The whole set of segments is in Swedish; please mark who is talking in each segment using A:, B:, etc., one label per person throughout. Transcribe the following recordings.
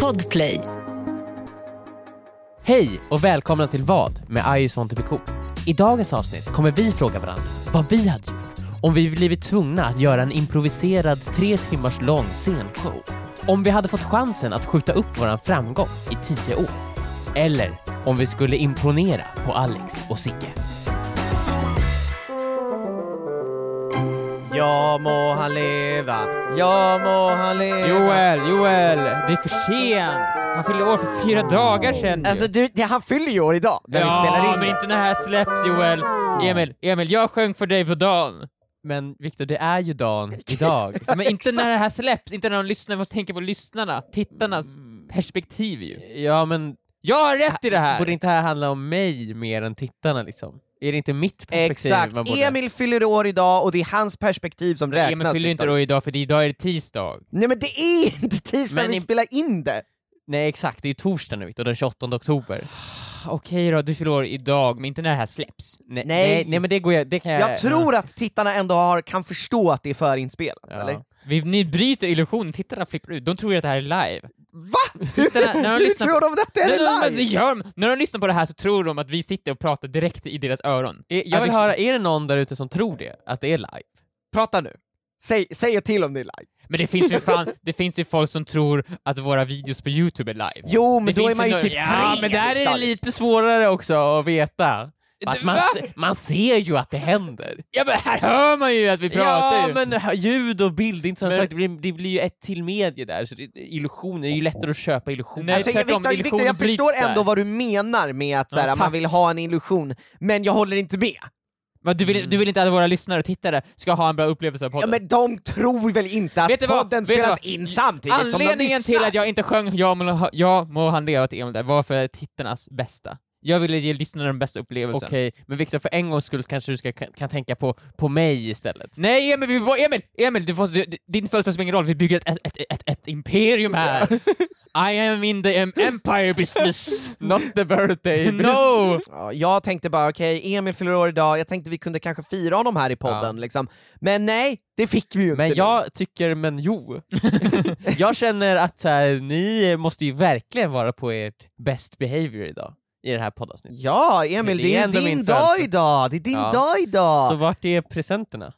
A: Podplay.
B: Hej och välkomna till Vad med I just want to be cool. I dagens avsnitt kommer vi fråga varandra vad vi hade gjort om vi blivit tvungna att göra en improviserad tre timmars lång scenshow. Om vi hade fått chansen att skjuta upp våran framgång i tio år. Eller om vi skulle imponera på Alex och Sigge.
C: Ja må han leva, ja må han leva
D: Joel, Joel, det är för sent. Han fyllde år för fyra dagar sedan. ju.
C: Alltså du, det- han fyller ju år idag när vi spelar
D: ja,
C: in
D: men
C: det.
D: inte när det här släpps Joel. Emil, Emil, jag sjöng för dig på dagen.
B: Men Viktor, det är ju dagen idag.
D: Men inte när det här släpps, inte när de lyssnar. Vi måste tänka på lyssnarna, tittarnas perspektiv ju.
B: Mm. Ja men
D: Jag har rätt i det här!
B: borde inte det här handla om mig mer än tittarna liksom? Är det inte mitt perspektiv
C: Exakt,
B: man borde...
C: Emil fyller år idag och det är hans perspektiv som räknas.
D: Emil fyller ju inte
C: Viktor.
D: då idag för det- idag är det tisdag.
C: Nej men det är inte tisdag
B: Men
C: vi
B: i-
C: spelar in det!
B: Nej exakt, det är ju torsdag nu Viktor, den 28 oktober.
D: Okej då, du fyller år idag, men inte när det här släpps.
B: Nej,
C: Nej.
B: nej. nej, men det, går jag, det kan jag...
D: Eh,
C: Jag tror att tittarna ändå har, kan förstå att det är förinspelat,
B: Ja.
C: eller?
D: Vi, ni bryter illusionen, tittarna flippar ut. De tror ju att det här är live.
C: Va?
D: Tittarna, när de
C: Hur
D: lyssnar
C: tror de att det
D: Nej, nej,
C: är
D: men det
C: live?
D: gör de. När de lyssnar på det här så tror de att vi sitter och pratar direkt i deras öron.
B: Eh, Jag vill
D: Ja, vi-
B: höra, är det någon där ute som tror det? Att det är live?
C: Prata nu. Säg, säg till om det är live.
D: Men det finns ju fan, det finns ju folk som tror att våra videos på Youtube är live.
C: Jo, men
D: Det
C: då är
D: finns
C: man ju
D: några-
C: typ
D: Ja,
C: tre,
B: men där är
C: Viktor.
B: det lite svårare också att veta. För
D: liksom.
B: Att
D: Det-
B: man,
D: va?
B: se- man ser ju att det händer.
D: Ja men här hör man ju att vi pratar
B: Ja,
D: ju!
B: men hö- ljud och bild, inte som
D: Men-
B: sagt, det blir, det blir ju ett till medie där, så det, illusioner, det är ju lättare att köpa illusioner.
D: Nej,
C: Alltså, jag,
D: tvärtom,
C: Victor, Victor,
D: illusionen
C: jag förstår
D: bryts där.
C: ändå vad du menar med att så här,
D: Ja,
C: man
D: tack.
C: vill ha en illusion, men jag håller inte med.
D: Men du, vill, du vill inte att våra lyssnare och tittare ska ha en bra upplevelse av
C: Ja,
D: podden?
C: men de tror väl inte att
D: Vet du vad?
C: podden
D: Vet du
C: spelas
D: vad?
C: in samtidigt som de
D: Anledningen
C: lyssnar.
D: till att jag inte sjöng ja må, ha- ja, må han leva till Emil där var för tittarnas bästa. Jag ville ge lyssnarna den bästa upplevelsen.
B: Okej, men Viktor, för en gångs skull kanske du ska, kan, kan tänka på, på mig istället.
D: Nej Emil, vi, var- Emil, Emil du får, du, din födelsedag spelar ingen roll, vi bygger ett, ett, ett, ett, ett imperium här. I am in the em- empire business.
B: Not the birthday!
D: No!
C: Ja, jag tänkte bara, okej, Emil fyller år idag, jag tänkte vi kunde kanske fira honom här i podden, liksom. men nej, det fick vi ju inte.
B: Men
C: nu.
B: jag tycker, men jo. jag känner att så här, ni måste ju verkligen vara på ert best behavior idag i det här poddavsnittet.
C: Ja, Emil,
B: Det
C: det,
B: är
C: är
B: ändå
C: din
B: min
C: dag
B: födelsedag.
C: idag! Det är din
B: Ja.
C: dag idag!
B: Så vart är presenterna?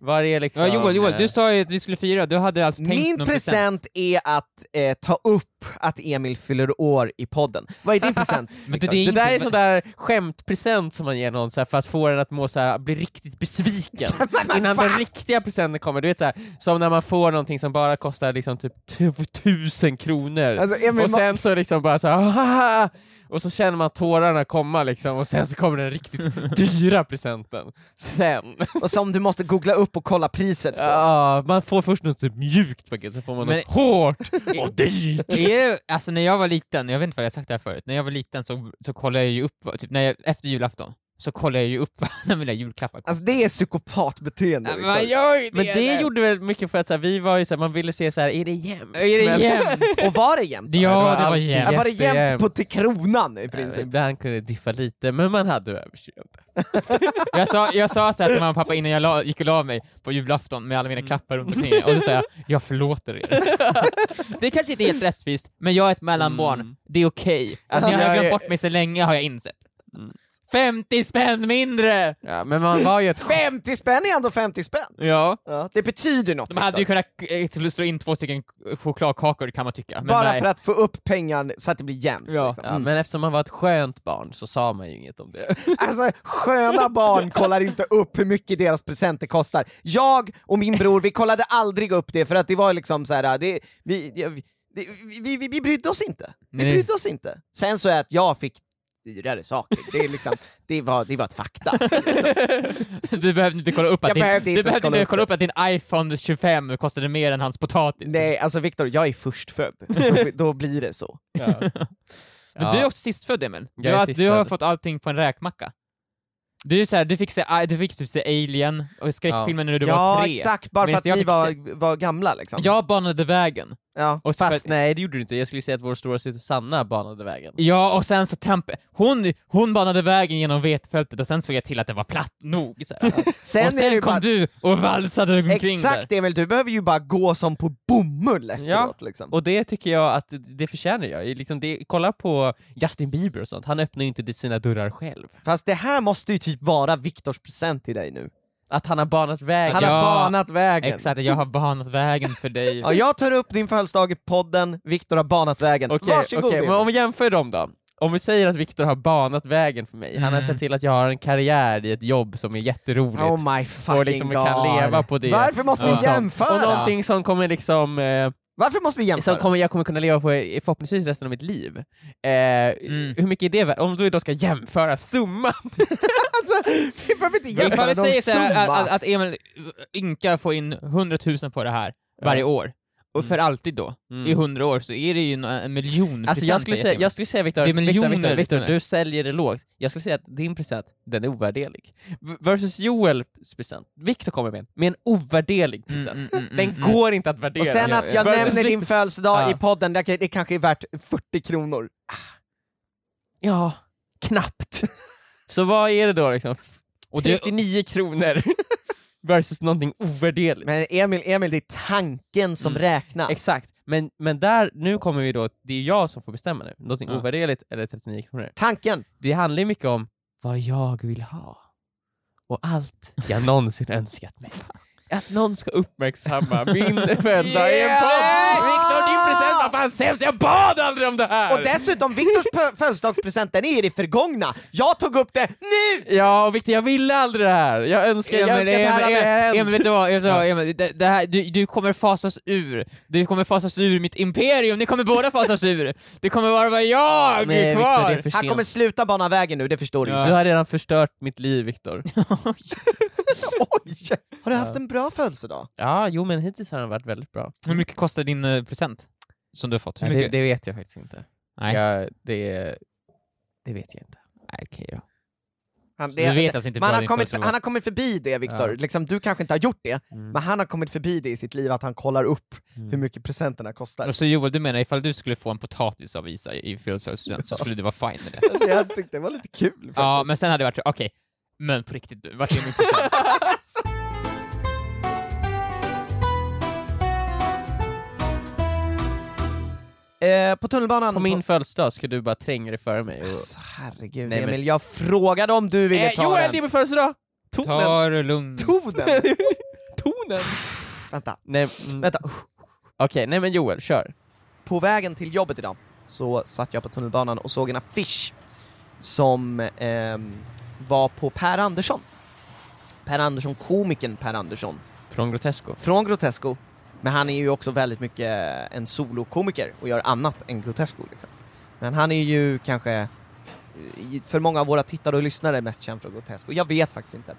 B: Var är liksom...
D: Ja, Joel, Joel, du sa ju att vi skulle fira, du hade alltså tänkt
C: Min
D: någon
C: present, är att eh, ta upp att Emil fyller år i podden. Vad är din present?
D: Men det,
C: Viktor?
D: det är inte,
B: Det där är sån där skämtpresent som man ger någon så här, för att få den att må så här, bli riktigt besviken innan den riktiga presenten kommer. Du vet så här, som när man får någonting som bara kostar liksom typ tu- tusen kronor
C: Alltså, Emil,
B: och sen så liksom bara så här, "Haha!" och så känner man tårarna komma liksom och sen så kommer den riktigt dyra presenten. Sen.
C: och som du måste googla upp och kolla priset på.
B: Ja, man får först något typ mjukt paket, sen får man
D: Men-
B: något hårt och dyrt.
D: är ju, alltså när jag var liten, jag vet inte vad jag har sagt det här förut, när jag var liten så, så kollade jag ju upp, vad- typ när jag, efter julafton, så kollade jag ju upp vad alla mina julklappar kostade.
C: Alltså det är psykopatbeteende.
D: Nej, men
C: Viktor.
D: man gör ju
B: Men det
D: eller?
B: gjorde väl mycket för att så här, vi var ju så här, man ville se så här, är det jämnt?
D: Är det
B: Men-
D: jämnt?
C: Och var det jämnt?
D: Ja,
B: det var
D: det var
B: alltid
D: jämnt.
C: Ja, var det jämnt
B: jättejämnt.
C: på till kronan i princip?
B: Ibland kunde det diffa lite, men man hade överseende.
D: Jag sa, jag sa så här till mamma och pappa innan jag la, gick och la mig på julafton med alla mina klappar runt omkring och då sa jag jag förlåter er. det kanske inte är helt rättvist, men jag är ett mellanbarn. Det är okej. Alltså,
B: jag
D: Mm. jag Mm. har
B: är-
D: glömt bort mig så länge har jag insett. 50 spänn mindre!
B: Ja, men man var ju ett
C: 50 spänn är ändå 50 spänn!
D: Ja.
C: Ja, det betyder något
D: De hade ju
C: Viktor.
D: kunnat eh, sl- slå in två stycken chokladkakor kan man tycka. Men
C: Bara
D: nej.
C: för att få upp pengar så att det blir jämnt.
D: Ja.
C: liksom.
B: Ja, Mm. men eftersom man var ett skönt barn så sa man ju inget om det.
C: Alltså sköna barn kollar inte upp hur mycket deras presenter kostar. Jag och min bror, vi kollade aldrig upp det för att det var liksom så här, det, vi, det, vi, vi, vi, vi brydde oss inte. Vi
D: Nej.
C: brydde oss inte. Sen så är att jag fick dyrare saker, det, är liksom, det, var, det var ett fakta.
D: Du behövde inte kolla upp
C: Jag
D: att din,
C: behövde inte
D: du behövde
C: kolla
D: inte
C: upp
D: kolla
C: det.
D: upp att din iPhone 25 kostade mer än hans potatis.
C: Nej, alltså Viktor, jag är förstfödd. Då, då blir det så.
D: Men
B: Ja.
D: du är också sistfödd Emil. Du,
B: Jag är
D: har, du har
B: sistfödd.
D: fått allting på en räkmacka. Du, är så här, du, fick se, du fick typ se Alien och skräckfilmer när du var
C: ja,
D: tre.
C: exakt, bara för
D: Medan
C: att
D: jag
C: vi
D: fick
C: var, var gamla liksom.
D: Jag banade vägen
C: Ja.
D: Och så för
B: Fast
D: att,
B: nej, det gjorde du inte. Jag skulle säga att vår stora syster Sanna banade vägen.
D: ja, och sen så tramp... Hon, hon banade vägen genom vetfältet och sen såg jag till att det var platt nog. Så här.
C: Sen,
D: och
C: är det
D: sen
C: ju
D: kom
C: bara,
D: du och valsade omkring där.
C: Exakt Emil, du behöver ju bara gå som på bomull efteråt liksom.
B: Och det tycker jag att det förtjänar jag. Liksom det, kolla på Justin Bieber och sånt, han öppnar ju inte sina dörrar själv.
C: Fast det här måste ju typ vara Viktors present till dig nu.
B: Att han har banat vägen.
C: Han
D: Ja.
C: har banat vägen.
D: Exakt, jag har banat vägen för dig.
C: Ja, jag tar upp din födelsedag i podden, Viktor har banat vägen.
B: Okej,
C: Varsågod
B: okej,
C: Emil.
B: men om vi jämför dem då. Om vi säger att Viktor har banat vägen för mig, han har
D: Mm.
B: sett till att jag har en karriär i ett jobb som är jätteroligt.
C: Oh my fucking
B: och liksom
C: god.
B: kan leva på det.
C: Varför måste
B: Och
C: vi
B: som-
C: jämföra?
B: Och någonting som kommer liksom, eh,
C: Varför måste vi jämföra?
B: som kommer, jag kommer kunna leva på i- förhoppningsvis resten av mitt liv. Eh, Hur mycket är det värt? Om du då ska jämföra summan!
C: Alltså, Vi behöver inte jämföra
D: Ifall vi
C: någon
D: säger så här,
C: summa.
D: att, att Emil Ynka får in 100 000 på det här varje år, och för alltid då, i 100 år, så är Mm. det ju en, en miljon
B: Alltså jag
D: presenter
B: skulle säga,
D: egentligen.
B: jag skulle säga Viktor,
D: Det är
B: Viktor, Viktor,
D: miljoner
B: Viktor,
D: lyssnare.
B: du säljer det lågt. Jag skulle säga att din present, den är ovärderlig. V- Versus Joels present, Viktor kommer med en, med en ovärderlig present.
D: Mm, mm, mm,
B: den
D: mm.
B: går inte att värdera.
C: Och sen att jag
B: Versus
C: nämner din
B: Viktor-
C: födelsedag
B: Ja.
C: i podden, det, det kanske är värt 40 kronor.
B: Ja, knappt. Så vad är det då liksom?
D: Och det-
B: 39 kronor versus någonting ovärderligt.
C: Men Emil, Emil, det är tanken som
B: Mm.
C: räknas.
B: Exakt, men, men där, nu kommer vi då, det är jag som får bestämma nu. Någonting
D: Ja.
B: ovärderligt eller 39 kronor.
C: Tanken!
B: Det handlar ju mycket om vad jag vill ha. Och allt jag någonsin önskat mig. Att någon ska uppmärksamma min födelsedag i en podd!
C: Yeah!
B: Viktor, din present var fan sämst! Jag bad aldrig om det här!
C: Och dessutom, Viktors pö- födelsedagspresent, den är i det förgångna. Jag tog upp det nu!
B: Ja, och Viktor, jag ville aldrig det här! Jag önskar, jag önskar att det här hade hänt!
D: Emil, vet du vad? Vet du, vad, Emil, det, det här, du, du kommer fasas ur. Du kommer fasas ur mitt imperium, ni kommer båda fasas ur. Det kommer bara vara jag
B: Nej, Viktor,
D: kvar.
B: det är för
C: Han
B: sent.
C: kommer sluta bana vägen nu, det förstår du ju.
D: Ja.
B: Du har redan förstört mitt liv, Viktor.
C: Oj! Har du haft en bra födelsedag?
B: ja, jo men hittills har den varit väldigt bra.
D: Hur mycket kostar din eh, present? Som du har fått? Hur
B: det,
D: mycket?
B: det vet jag faktiskt inte.
D: Nej.
B: Jag, det, det vet jag inte.
D: Nej, okej då.
C: Han,
D: Du vet alltså inte
C: man
D: vad
C: har
D: din
C: kommit,
D: födelsedag
C: han har kommit förbi det Viktor,
B: Ja.
C: liksom, du kanske inte har gjort det, men han har kommit förbi det i sitt liv att han kollar upp
B: Mm.
C: hur mycket presenterna kostar.
D: Och så Alltså, Joel, du menar ifall du skulle få en potatis av Isa i födelsedagspresent så skulle du vara fine med det?
C: Alltså, jag tyckte det var lite kul faktiskt.
D: Ja, men sen hade det varit okej, men på riktigt du, vart är min present?
C: Eh, på tunnelbanan...
B: På min födelsedag ska du bara tränga dig före mig. Och...
C: Alltså, herregud
B: Nej, men-
C: Emil, jag frågade om du ville
B: Eh,
C: ta
B: Joel, det är
C: den.
B: min födelsedag! Tonen!
D: Ta det lugnt.
C: Tog den!
B: Tonen!
C: Vänta,
B: Nej, mm.
C: vänta.
B: Okej, nej men Joel, kör.
C: På vägen till jobbet idag så satt jag på tunnelbanan och såg en affisch som ehm, var på Per Andersson. Per Andersson, komikern Per Andersson.
B: Från Grotesco.
C: från Grotesco, men han är ju också väldigt mycket en solokomiker och gör annat än Grotesco. Liksom. Men han är ju kanske, i- för många av våra tittare och lyssnare, mest känd från Grotesco. Jag vet faktiskt inte.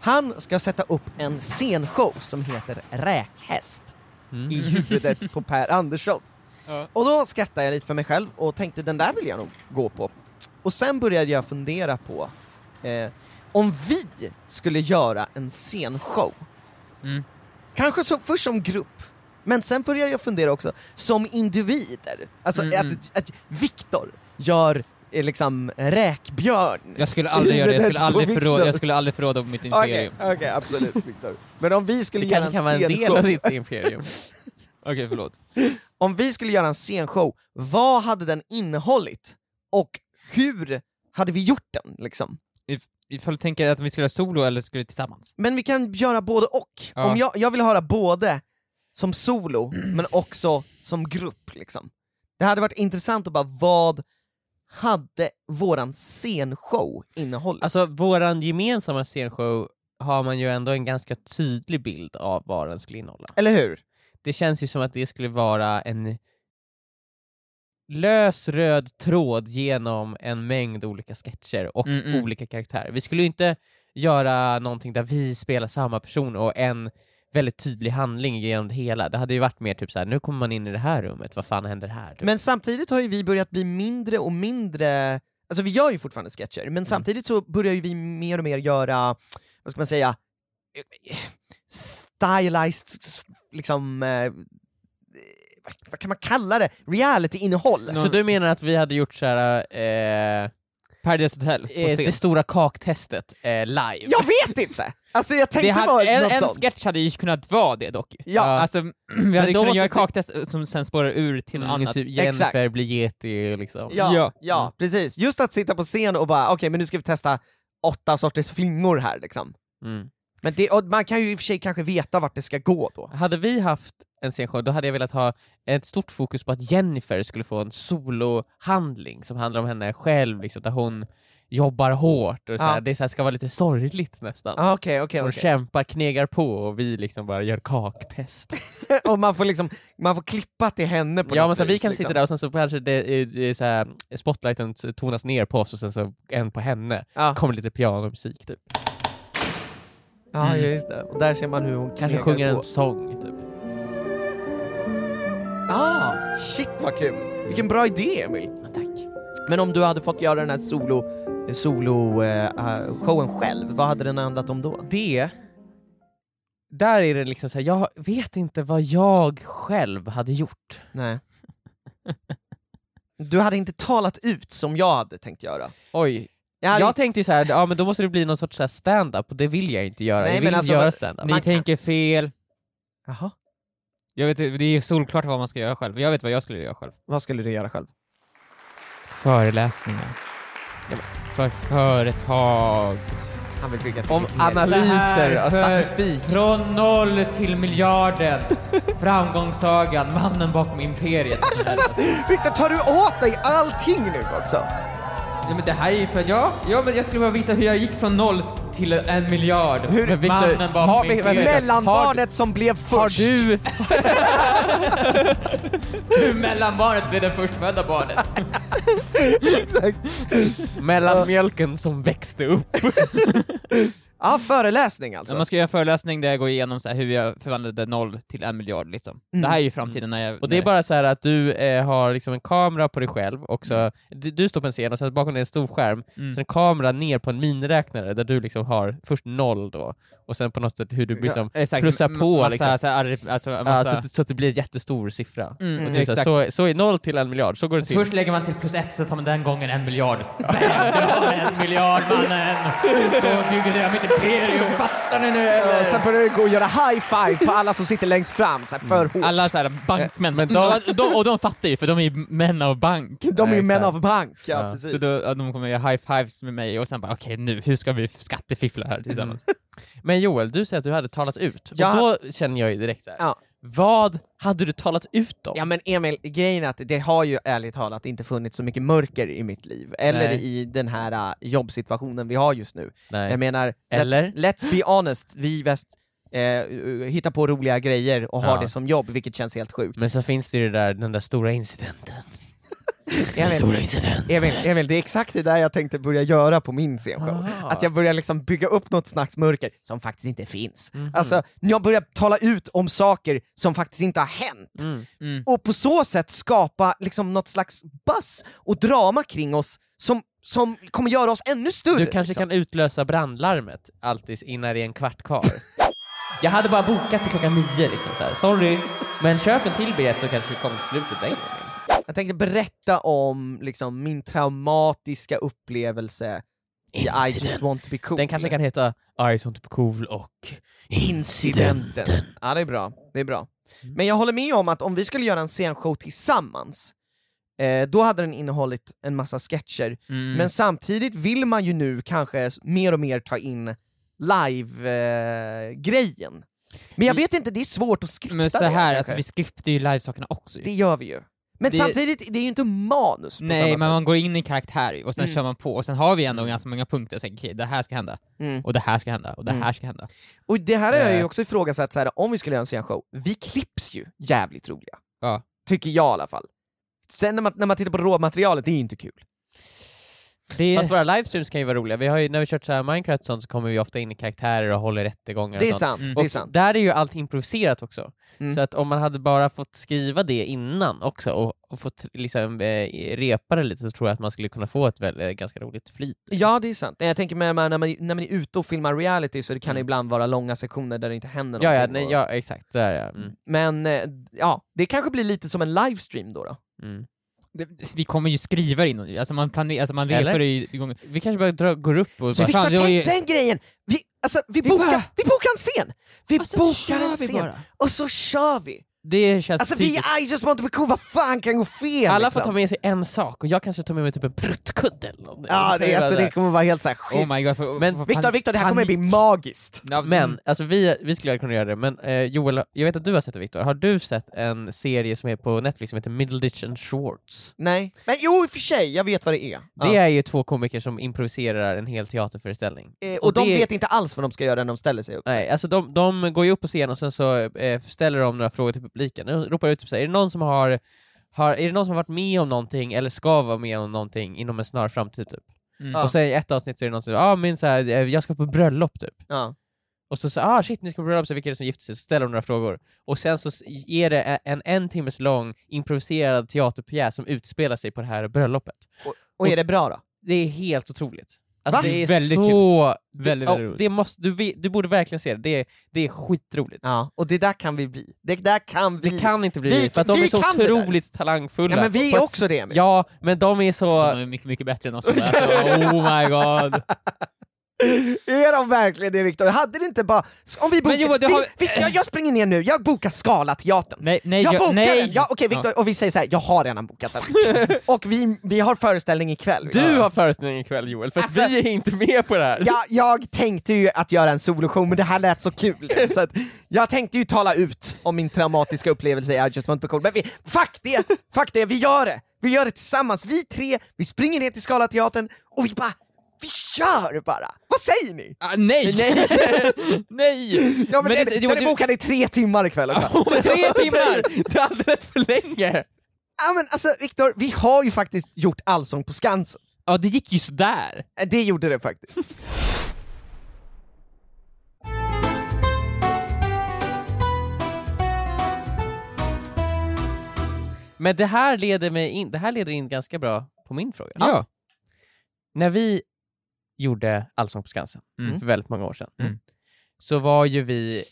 C: Han ska sätta upp en scenshow som heter Räkhäst i huvudet på Per Andersson.
D: Ja.
C: Och då skrattade jag lite för mig själv och tänkte den där vill jag nog gå på. Och sen började jag fundera på eh, om vi skulle göra en scenshow.
D: Mm.
C: Kanske som, först som grupp, men sen började jag fundera också som individer. Alltså
D: Mm, mm.
C: att, att Viktor gör eh, liksom räkbjörn.
D: Jag skulle aldrig göra det, jag skulle
C: Huvudet på
D: aldrig, förråda,
C: Victor.
D: jag skulle aldrig förråda mitt
C: Okej,
D: imperium.
C: okej, absolut Viktor. Men om vi skulle
B: Det
C: göra
B: kanske
C: en
B: kan vara en del
C: scenshow,
B: av ditt imperium.
D: Okej, förlåt.
C: om vi skulle göra en scenshow, vad hade den innehållit? Och hur hade vi gjort den liksom?
D: Ifall du tänker att vi skulle ha solo eller skulle tillsammans?
C: Men vi kan göra både och.
D: Ja.
C: Om jag, jag vill höra både som solo, men också som grupp. Liksom. Det hade varit intressant att bara, vad hade våran scenshow innehållit?
B: Alltså våran gemensamma scenshow har man ju ändå en ganska tydlig bild av vad den skulle innehålla.
C: Eller hur?
B: Det känns ju som att det skulle vara en lös röd tråd genom en mängd olika sketcher och
D: Mm, mm.
B: olika karaktärer. Vi skulle ju inte göra någonting där vi spelar samma person och en väldigt tydlig handling genom det hela. Det hade ju varit mer typ så här: nu kommer man in i det här rummet, vad fan händer här? Typ.
C: Men samtidigt har ju vi börjat bli mindre och mindre... Alltså vi gör ju fortfarande sketcher,
D: Mm.
C: men samtidigt så börjar ju vi mer och mer göra, vad ska man säga, eh, stylized, s- liksom... eh, vad kan man kalla det? Reality-innehåll.
B: Så du menar att vi hade gjort så här, eh,
D: Paradise Hotel på
B: eh,
D: scen.
B: det stora kaktestet eh, live?
C: Jag vet inte! Alltså jag
D: Det
C: tänkte bara
D: hade, en,
C: något
D: en
C: sånt.
D: sketch hade ju kunnat vara det dock.
C: Ja.
D: Alltså, vi hade
B: då
D: kunnat
B: måste
D: göra
B: vi-
D: kaktest som sen spårar ur till något
B: Mm,
D: annat.
B: Typ Jennifer
C: Exakt.
B: blir yeti liksom.
C: Ja, ja.
D: Ja. Mm.
C: precis. Just att sitta på scen och bara, okej men nu ska vi testa åtta sorters flingor här liksom.
B: Mm.
C: Men det, och man kan ju i och för sig kanske veta vart det ska gå då.
B: Hade vi haft en scenshow då hade jag velat ha ett stort fokus på att Jennifer skulle få en solohandling som handlar om henne själv, liksom, där hon jobbar hårt och så här,
C: Ja.
B: det så här ska vara lite sorgligt nästan.
C: Ah, Okej, okej,
B: Hon
C: okej.
B: kämpar, knegar på och vi liksom bara gör kaktest.
C: Och man får liksom, man får klippa till henne på
B: ja
C: något
B: men så här, vi
C: vis,
B: kan
C: liksom.
B: sitta där och sen så kanske det, det, det, så här, spotlighten tonas ner på oss och sen så en på henne.
C: Ja,
B: Kommer lite pianomusik typ.
C: ja just det. Och där ser man hur hon
B: Kanske
C: knegar
B: sjunger
C: på.
B: en sång typ.
C: Ah, shit vad kul! Vilken bra idé Emil!
B: Ja, tack.
C: Men om du hade fått göra den här solo, solo eh, eh, showen själv, vad hade den handlat om då?
B: det, där är det liksom så här, jag vet inte vad jag själv hade gjort.
C: Nej. Du hade inte talat ut som jag hade tänkt göra.
B: Oj.
C: Jag hade
B: Jag tänkte ju så här, ja men då måste det bli någon sorts så här stand-up och det vill jag inte göra.
C: Nej,
B: jag
C: men
B: vill
C: alltså,
B: inte göra
C: vad-
B: stand-up.
D: Ni
C: Man kan-
D: tänker fel.
C: Jaha,
D: Jag vet, det är ju solklart vad man ska göra själv. Jag vet vad jag skulle göra själv.
C: vad skulle du göra själv?
D: Föreläsningar. För företag.
C: Han vill bygga
B: Om
D: Så
B: analyser
D: här
B: och
D: för-
B: statistik.
D: Från noll till miljarden. Framgångssagan, mannen bakom imperiet.
C: Viktor, tar du åt dig allting nu också?
D: Nej, men det här är ju för jag, ja, men jag skulle bara visa hur jag gick från noll till en miljard.
B: Hur-
D: Men
B: Victor,
D: mannen bakom
B: har vi-
D: imperiet.
B: vänta, vänta.
C: Mellanbarnet som blev
B: Har
C: först.
B: du,
D: Hur mellanbarnet blev det förstfödda barnet.
C: Exakt.
B: mellan mjölken som växte upp.
C: Ja, föreläsning alltså.
D: När man ska göra en föreläsning där jag går igenom så här hur jag förvandlade noll till en miljard liksom. Det här är ju framtiden när jag...
B: Och det är bara så här att du eh, har liksom en kamera på dig själv och så, du, du står på en scen och sen bakom dig är en stor skärm,
D: Mm.
B: sen en kamera ner på en miniräknare där du liksom har först noll då, och sen på något sätt hur du liksom
D: Ja, exakt.
B: plussar
D: M-
B: på,
D: Massa,
B: liksom.
D: så här, arri- alltså, massa,
B: Ja, så, att, så att det blir en jättestor siffra.
D: Mm,
B: Och
D: mm,
B: det är så, här,
D: exakt.
B: så, så är noll till en miljard, så går det till.
D: Först lägger man till plus ett, så tar man den gången en miljard. Bam, dra en miljard mannen! Så byggde jag mitt imperium, fattar ni nu
C: Ja,
D: eller?
C: Eh, Sen börjar det gå att göra high five på alla som sitter längst fram, så här för
B: Mm.
C: hårt.
D: Alla så här bankmän,
B: Men
D: men
B: de-
D: de, de, och de fattar ju för de är ju män av bank.
C: De är ju
B: Ja,
C: män
B: exakt.
C: av bank. Ja,
B: Ja,
C: precis.
D: Så då, ja, de kommer göra high-fives med mig och sen bara okej nu, hur ska vi skattefiffla här tillsammans?
B: Men Joel, du säger att du hade talat ut, och
C: Jag-
B: då känner jag ju direkt så här.
C: Ja.
B: vad hade du talat ut om?
C: Ja men Emil, grejen är att det har ju ärligt talat inte funnits så mycket mörker i mitt liv, eller
B: Nej.
C: i den här äh, jobbsituationen vi har just nu.
B: Nej.
C: Jag menar,
B: Eller?
C: Let's, let's be honest, vi i väst eh, uh, hittar på roliga grejer och har
B: Ja.
C: det som jobb, vilket känns helt sjukt.
B: Men så finns det ju det där, den där stora incidenten. Mm.
C: Emil,
B: incidenten.
C: Emil, Emil, det är exakt det där jag tänkte börja göra på min scenshow.
B: Ah.
C: Att jag börjar liksom bygga upp något slags mörker som faktiskt inte finns.
B: Mm.
C: Alltså, jag börjar tala ut om saker som faktiskt inte har hänt.
D: Mm.
C: och på så sätt skapa liksom något slags buzz och drama kring oss som, som kommer göra oss ännu större.
B: Du kanske
C: liksom.
B: kan utlösa brandlarmet alltid innan det är en kvart kvar. Jag hade bara bokat till klockan nio liksom så här. sorry. Men köp en till biljett så kanske vi kommer till slutet den gången.
C: Jag tänkte berätta om liksom, min traumatiska upplevelse i I just want to be cool.
B: Den kanske kan heta I som typ cool och
C: Incidenten. Ja, det är bra. Det är bra.
B: Mm.
C: Men jag håller med om att om vi skulle göra en scenshow tillsammans, eh, då hade den innehållit en massa sketcher.
D: Mm.
C: Men samtidigt vill man ju nu kanske s- mer och mer ta in live-grejen. men jag vet inte, det är svårt att skripta
D: Mm. Men så
C: det,
D: här,
C: kanske.
D: alltså, vi skriptar ju livesakerna också ju.
C: Det gör vi ju. Men
D: Det-
C: samtidigt, det är ju inte manus på
D: Nej,
C: samma
D: men
C: sätt.
D: man går in i karaktär ju, och sen
C: Mm.
D: kör man på och sen har vi ändå ganska många punkter. Så, här, okej, det här ska hända,
C: Mm.
D: och det här ska hända, och det här ska hända.
C: Och det här har jag ju
D: Eh.
C: också ifrågasatt, så här, om vi skulle göra en scenshow, vi klipps ju jävligt roliga.
D: Ja.
C: Tycker jag i alla fall. Sen när man, när man tittar på råmaterialet, det är ju inte kul.
D: Det är,
B: Fast våra livestreams kan ju vara roliga. Vi har ju, när vi kört så här Minecraft och sånt så kommer vi ofta in i karaktärer och håller rättegångar
C: det är
B: och sånt.
C: sant,
D: Mm.
C: det är
B: Och
C: sant.
B: Där är ju allt improviserat också.
C: Mm.
B: Så att om man hade bara fått skriva det innan också och, och fått liksom, eh, repa det lite så tror jag att man skulle kunna få ett väl, eh, ganska roligt flyt.
C: Ja, det är sant. Jag tänker med, när, man, när man är ute och filmar reality så det
D: Mm.
C: kan det ibland vara långa sektioner där det inte händer
B: Ja, ja,
C: någonting.
B: nej,
C: och-
B: ja exakt. Där, ja. Mm.
C: Men eh, ja, det kanske blir lite som en livestream då. då.
B: Mm. Vi kommer ju skriva det innan, alltså man, planerar, alltså man repar
D: repar
B: det ju Vi kanske bara dra, går upp och
C: Så Viktor,
B: fan, vi har
C: tänk
B: ju...
C: den grejen! Vi, alltså, vi,
B: Vi
C: bokar,
B: bara- Alltså,
C: vi bokar en scen! Vi bokar en scen,
D: bara.
C: och så kör vi!
B: Det känns
C: Alltså vi
B: typiskt.
C: är I just want to be cool, vad fan kan gå fel?
B: Alla
C: liksom?
B: får ta med sig en sak och jag kanske tar med mig typ en pruttkudde eller någonting.
C: Ja, det, alltså, det kommer vara helt såhär skit.
B: Oh my god. För,
D: Men
B: för,
C: Viktor, Viktor, det här kommer bli Mm. magiskt!
B: Ja, men alltså vi, vi skulle kunna göra det, men eh, Joel, jag vet att du har sett det Viktor, har du sett en serie som är på Netflix som heter Middleditch and Schwartz?
C: Nej. Men jo, i och för sig, jag vet vad det är.
B: Det är ju två komiker som improviserar en hel teaterföreställning.
C: ja. Eh, och,
B: och
C: de
B: det-
C: vet inte alls vad de ska göra när de ställer sig upp.
B: Nej, alltså de, de går ju upp på scen och sen så eh, ställer de några frågor till publiken. De ropar ut typ såhär, är det någon som har, har, är det någon som har varit med om någonting eller ska vara med om någonting inom en snar framtid typ?
C: Ja.
B: Och sen i ett avsnitt så är det någon som ah, min, så här, eh, jag ska på bröllop typ.
C: Ja.
B: Och så så ah shit, ni ska på bröllop, så vilka är det som gifter sig? Så ställer de några frågor. Och sen så s- är det en en, en timmes lång improviserad teaterpjäs som utspelar sig på det här bröllopet.
C: Och är det bra då?
B: Det är helt otroligt. Alltså,
C: Va?
B: det är
D: Väldigt
B: så...
D: kul.
B: Det,
D: Väldigt,
B: ja,
D: väldigt roligt.
B: Det måste, du, vi- du borde verkligen se det, det är, det är skitroligt.
C: Ja. Och det där kan vi bli. Det där kan vi.
B: Det kan inte bli
C: vi-
B: vi, för att de
C: vi
B: är så
C: kan det där.
B: otroligt talangfulla.
C: ja, men vi
B: På
C: är
B: ett-
C: också det. Emil.
B: Ja, men de är så...
D: De är mycket, mycket bättre än oss. Alltså, oh my god.
C: Är de verkligen det Viktor? Hade det inte bara... Om vi bokar...
B: Men Johan, du
C: vi,
B: har-
C: vi, jag, jag springer ner nu, jag bokar Scalateatern.
D: Nej, nej,
C: jag
D: jag-
C: bokar
D: nej.
C: den! Ja, Okej Viktor, och vi säger så här, jag har redan bokat den. och vi, vi har föreställning ikväll. Viktor.
B: Du har föreställning ikväll Joel, för att
C: Alltså-
B: vi är inte med på det här.
C: Ja, jag tänkte ju att göra en soloshow, men det här lät så kul. Så att jag tänkte ju tala ut om min traumatiska upplevelse i I just want to be cool. Men vi, fuck, det, fuck det, vi gör det! Vi gör det tillsammans, vi tre, vi springer ner till Scalateatern och vi bara, vi kör bara! Vad säger ni?
D: Ah, nej!
B: Nej! Nej!
C: Ja, men den,
B: Men det- Johan,
C: den är
B: du-
C: bokad i tre timmar ikväll alltså. också.
B: Tre timmar! Det är alldeles för länge!
C: Ja men alltså Viktor, vi har ju faktiskt gjort Allsång på Skansen.
B: Ja, det gick ju sådär.
C: Eh, Det gjorde det faktiskt.
B: Men det här leder mig in, det här leder in ganska bra på min fråga.
D: Ja.
B: När vi gjorde Allsång på Skansen
D: Mm.
B: för väldigt många år sedan,
D: Mm.
B: så var ju vi,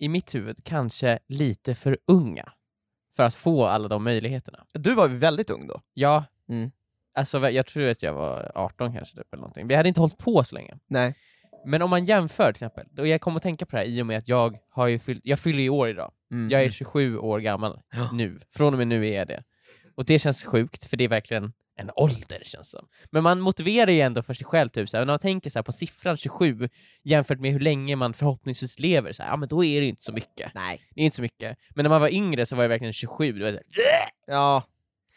B: i mitt huvud, kanske lite för unga för att få alla de möjligheterna.
C: Du var ju väldigt ung då.
B: Ja,
C: Mm.
B: alltså jag tror att jag var 18 kanske, typ, eller någonting. Vi hade inte hållit på så länge.
C: Nej.
B: Men om man jämför till exempel, och jag kommer att tänka på det här i och med att jag har ju fyllt, jag fyller ju år idag.
C: Mm.
B: Jag är 27 år gammal nu. Från och med nu är jag det. Och det känns sjukt, för det är verkligen en ålder känns som. Men man motiverar ju ändå för sig själv, typ såhär, när man tänker såhär, på siffran 27 jämfört med hur länge man förhoppningsvis lever, såhär, ja men då är det ju inte så mycket.
C: Nej.
B: Det är inte så mycket. Men när man var yngre så var det verkligen 27, det var såhär,
C: Ja.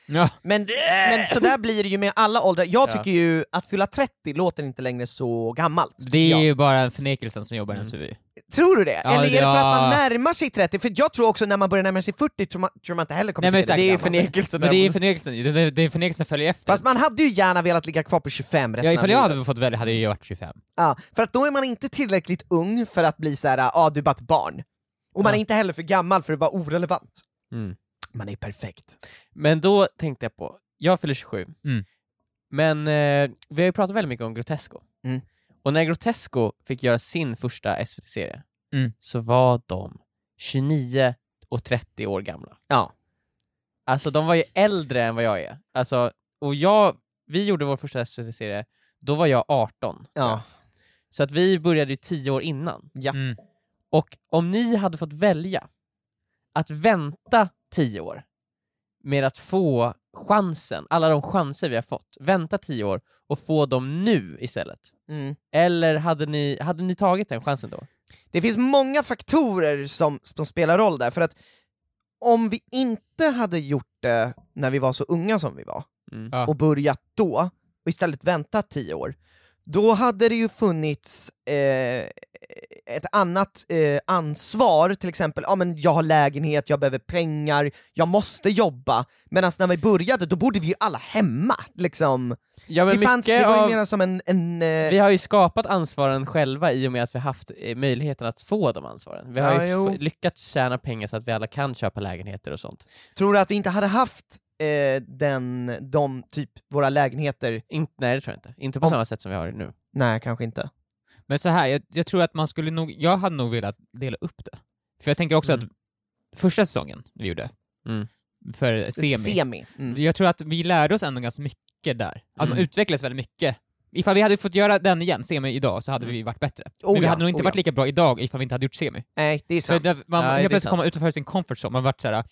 D: Ja.
C: Men, men sådär blir det ju med alla åldrar. Jag
B: Ja.
C: tycker ju att fylla 30 låter inte längre så gammalt.
D: Det är
C: Ja. Mm.
D: ju bara en förnekelsen som jobbar i
B: Alltså,
D: ens huvud.
C: Tror du det?
D: Ja,
C: Eller är det för att man
D: ja.
C: närmar sig 30? För jag tror också när man börjar närma sig 40 tror man, tror man inte heller
D: Nej,
C: kommer
D: men
C: tycka
D: exakt.
C: är
D: Det är
C: så gammalt.
D: förnek-
B: enkelt
D: Men det är ju förnekelsen, det är- det är förnekelsen som följer efter.
C: Fast man hade ju gärna velat ligga kvar på 25 resten
D: ja,
C: av
D: ifall jag
C: livet.
D: hade fått välja hade jag varit 25.
C: Ja, för att då är man inte tillräckligt ung för att bli så här, ah, du är bara ett barn. Och man
B: Ja.
C: är inte heller för gammal för att vara orelevant.
B: Mm.
C: Man är perfekt.
B: Men då tänkte jag på, jag fyller 27,
D: Mm.
B: men eh, vi har ju pratat väldigt mycket om Grotesco.
C: Mm.
B: Och när Grotesco fick göra sin första SVT-serie
D: Mm.
B: så var de 29 och 30 år gamla.
C: Ja.
B: Alltså de var ju äldre än vad jag är. Alltså, och jag, vi gjorde vår första SVT-serie, då var jag 18.
C: Ja.
B: Så att vi började ju 10 år innan.
C: Ja.
D: Mm.
B: Och om ni hade fått välja att vänta 10 år med att få chansen, alla de chanser vi har fått, vänta 10 år och få dem nu istället.
C: Mm.
B: Eller hade ni, hade ni tagit den chansen då?
C: Det finns många faktorer som, som spelar roll där, för att om vi inte hade gjort det när vi var så unga som vi var,
B: Mm.
D: Ja.
C: och börjat då, och istället väntat 10 år, då hade det ju funnits eh, ett annat eh, ansvar, till exempel ja, men jag har lägenhet, jag behöver pengar, jag måste jobba. Medan när vi började, då bodde vi ju alla hemma. Liksom.
B: Ja, men
C: Det, fanns,
B: mycket
C: det var
B: av-
C: ju mer som en... en eh,
B: Vi har ju skapat ansvaren själva i och med att vi haft eh, möjligheten att få de ansvaren. Vi har
C: Ja,
B: ju
C: jo.
B: f- lyckats tjäna pengar så att vi alla kan köpa lägenheter och sånt.
C: tror du att vi inte hade haft eh, den, de, typ, våra lägenheter?
B: In, nej, det tror jag inte. Inte på
C: Om-
B: samma sätt som vi har det nu.
C: Nej, kanske inte.
D: Men så här, jag, jag tror att man skulle nog, jag hade nog velat dela upp det. För jag tänker också
B: Mm.
D: att första säsongen vi gjorde,
B: Mm.
D: för semi,
C: Semi. Mm.
D: jag tror att vi lärde oss ändå ganska mycket där. Att man
B: Mm.
D: utvecklades väldigt mycket. Ifall vi hade fått göra den igen, semi idag, så hade
B: Mm.
D: vi varit bättre.
C: Oh
D: Men vi
C: ja,
D: hade nog inte
C: oh
D: varit
C: ja.
D: lika bra idag ifall vi inte hade gjort semi.
C: Nej, det är
D: Så
C: sant.
D: det, man,
B: Nej, det är
D: helt plötsligt
B: sant.
D: kom man utanför sin comfort zone, man vart såhär,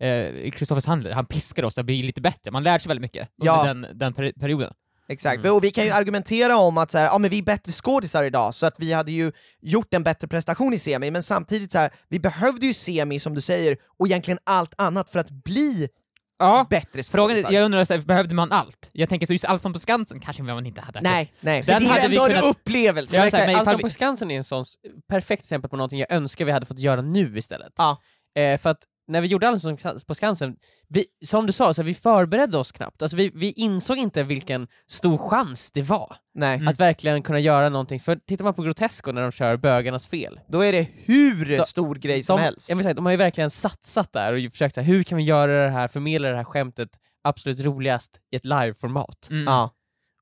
D: eh, Kristoffers Handler, han piskade oss att bli lite bättre, man lärde sig väldigt mycket under
C: Ja.
D: den, den peri- perioden.
C: Exakt,
D: Mm.
C: och vi kan ju argumentera om att så här, ja, men vi är bättre skådisar idag, så att vi hade ju gjort en bättre prestation i semi, men samtidigt så här, vi behövde ju semi som du säger, och egentligen allt annat för att bli
D: Ja,
C: bättre skådisar.
D: Frågan är, jag undrar, så här, behövde man allt? Jag tänker så just Allsång på Skansen kanske man inte hade.
C: Nej, nej.
D: Den
C: men det är ju
D: hade vi
C: ändå en
D: kunnat-
C: upplevelse.
D: Ja,
C: Ja,
D: exakt.
B: Exakt,
D: men
B: Allsång
D: ifall vi-
B: på Skansen är en sån s- perfekt exempel på någonting jag önskar vi hade fått göra nu istället.
C: Ja.
B: Eh, för att när vi gjorde Allsång på Skansen, vi, som du sa, så här, vi förberedde oss knappt. Alltså, vi, vi insåg inte vilken stor chans det var
C: nej.
D: Mm.
B: att verkligen kunna göra någonting. För tittar man på Grotesco när de kör Bögarnas fel,
C: Då är det hur
B: Då-
C: stor grej som
B: de,
C: helst.
B: Jag vill säga, de har ju verkligen satsat där och ju försökt så här, hur kan vi göra det här, förmedla det här skämtet absolut roligast i ett liveformat.
D: Mm.
C: Ja.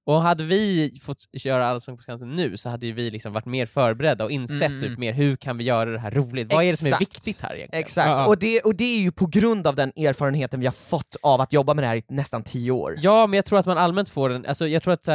B: Och hade vi fått göra Allsång på Skansen nu så hade ju vi liksom varit mer förberedda och insett
D: Mm, mm.
B: typ mer hur kan vi göra det här roligt? Vad är det som är
C: Exakt.
B: viktigt här egentligen?
C: Exakt,
D: Ja, ja.
C: Och, det, och det är ju på grund av den erfarenheten vi har fått av att jobba med det här i nästan tio år.
B: Ja, men jag tror att man allmänt får en, alltså jag tror att, uh,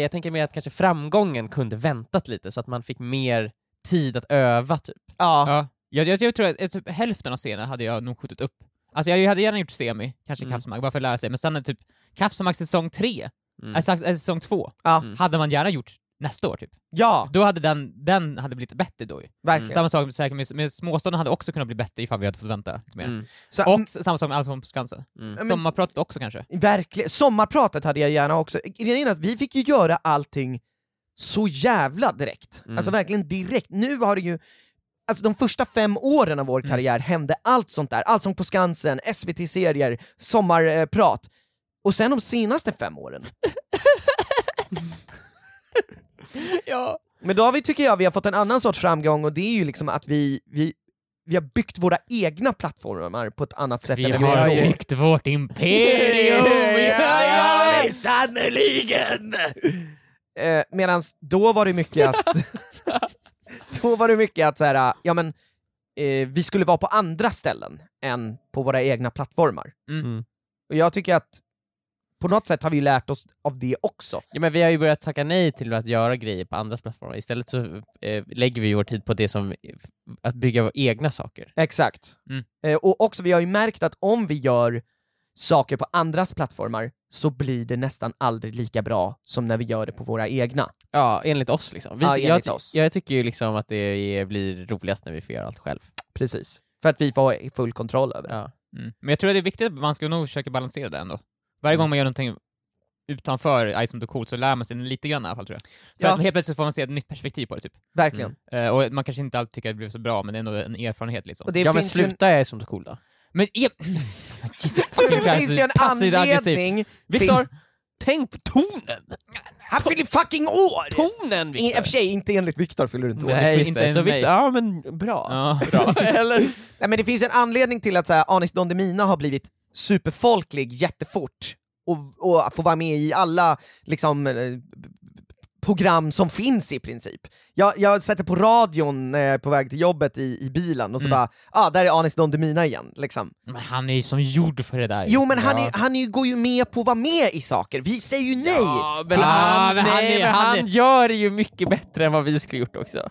B: jag tänker mer att kanske framgången kunde väntat lite så att man fick mer tid att öva typ.
C: Ja.
D: Ja. Jag, jag, jag tror att eh, typ, hälften av scenerna hade jag nog skjutit upp. Alltså jag hade gärna gjort semi, kanske
B: Mm.
D: Kafsmak, bara för att lära sig, men sen är typ Kafsmak säsong tre,
B: Mm.
D: alltså, alltså säsong två,
C: Ja.
B: Mm.
D: hade man gärna gjort nästa år typ.
C: ja,
D: Då hade den, den hade blivit bättre då ju.
C: verkligen.
D: Samma sak med, säkert med, med Småstaden hade också kunnat bli bättre ifall vi hade fått vänta lite mer.
B: Mm.
C: Så,
D: Och s- samma sak med Allsång på Skansen.
B: Mm.
C: Men-
D: Sommarpratet också kanske.
C: Verkligen. Sommarpratet hade jag gärna också. Grejen är att vi fick ju göra allting så jävla direkt.
B: Mm.
C: Alltså verkligen direkt. Nu har det ju... Alltså de första fem åren av vår
D: Mm.
C: karriär hände allt sånt där. Allsång på Skansen, SVT-serier, sommarprat. Och sen de senaste fem åren.
D: Ja.
C: Men då har vi, tycker jag, vi har fått en annan sorts framgång och det är ju liksom att vi, vi, vi har byggt våra egna plattformar på ett annat sätt
D: Vi
C: än vi har
D: har
C: då.
D: byggt vårt imperium! ja, ja, visst.
C: sannerligen! Eh, Medan då var det mycket att... då var det mycket att så här, ja men, eh, vi skulle vara på andra ställen än på våra egna plattformar.
D: Mm.
C: Och jag tycker att på något sätt har vi lärt oss av det också.
B: Ja, men vi har ju börjat tacka nej till att göra grejer på andras plattformar. Istället så eh, lägger vi vår tid på det som, att bygga våra egna saker.
C: Exakt.
D: Mm.
C: Eh, och också, vi har ju märkt att om vi gör saker på andras plattformar så blir det nästan aldrig lika bra som när vi gör det på våra egna.
B: Ja, enligt oss liksom. Vi,
C: Ja, enligt
B: jag,
C: oss.
B: jag tycker ju liksom att det är, blir roligast när vi får göra allt själv.
C: Precis. För att vi får full kontroll över det.
B: Ja.
D: Mm. Men jag tror att det är viktigt att man ska nog försöka balansera det ändå. Varje
C: Mm.
D: gång man gör någonting utanför Ice som coolt så lär man sig lite grann i alla fall tror jag. För
C: Ja.
D: att helt plötsligt får man se ett nytt perspektiv på det typ.
C: Verkligen.
B: Mm.
D: Eh, och man kanske inte alltid tycker att det blev så bra, men det är ändå en erfarenhet liksom.
C: Och det
B: ja men
C: finns ju en-
B: sluta jag är som så cool då.
D: Men e- Jesus
C: Men
D: fucking
C: det finns
D: Christ,
C: ju en
D: passivt aggressivt.
C: anledning...
B: Viktor,
C: till-
B: tänk på tonen!
C: Han fyller fucking år!
B: Tonen
C: I i och
B: Viktor!
C: för sig, inte enligt Viktor fyller du inte år.
B: Nej,
D: inte
B: just det.
D: en
B: Så
D: mig.
B: Viktor, ja men bra.
D: Ja.
B: bra. Eller?
C: Nej, men det finns en anledning till att så här, Anis Don Demina har blivit superfolklig jättefort och, och får vara med i alla liksom, eh, b- b- program som finns i princip. Jag, jag sätter på radion när jag är på väg till jobbet i, i bilen och så
D: Mm.
C: bara, ah, där är Anis Don Demina igen. Liksom.
D: Men han är ju som gjord för det där.
C: Jo men han,
D: Ja.
C: är, han är, ju- går ju med på att vara med i saker, vi säger ju nej!
B: Ja, men
D: Ah,
B: han,
D: men han
B: nej,
D: är-
B: men
D: han
B: han,
D: är-
B: gör det ju mycket bättre än vad vi skulle gjort också.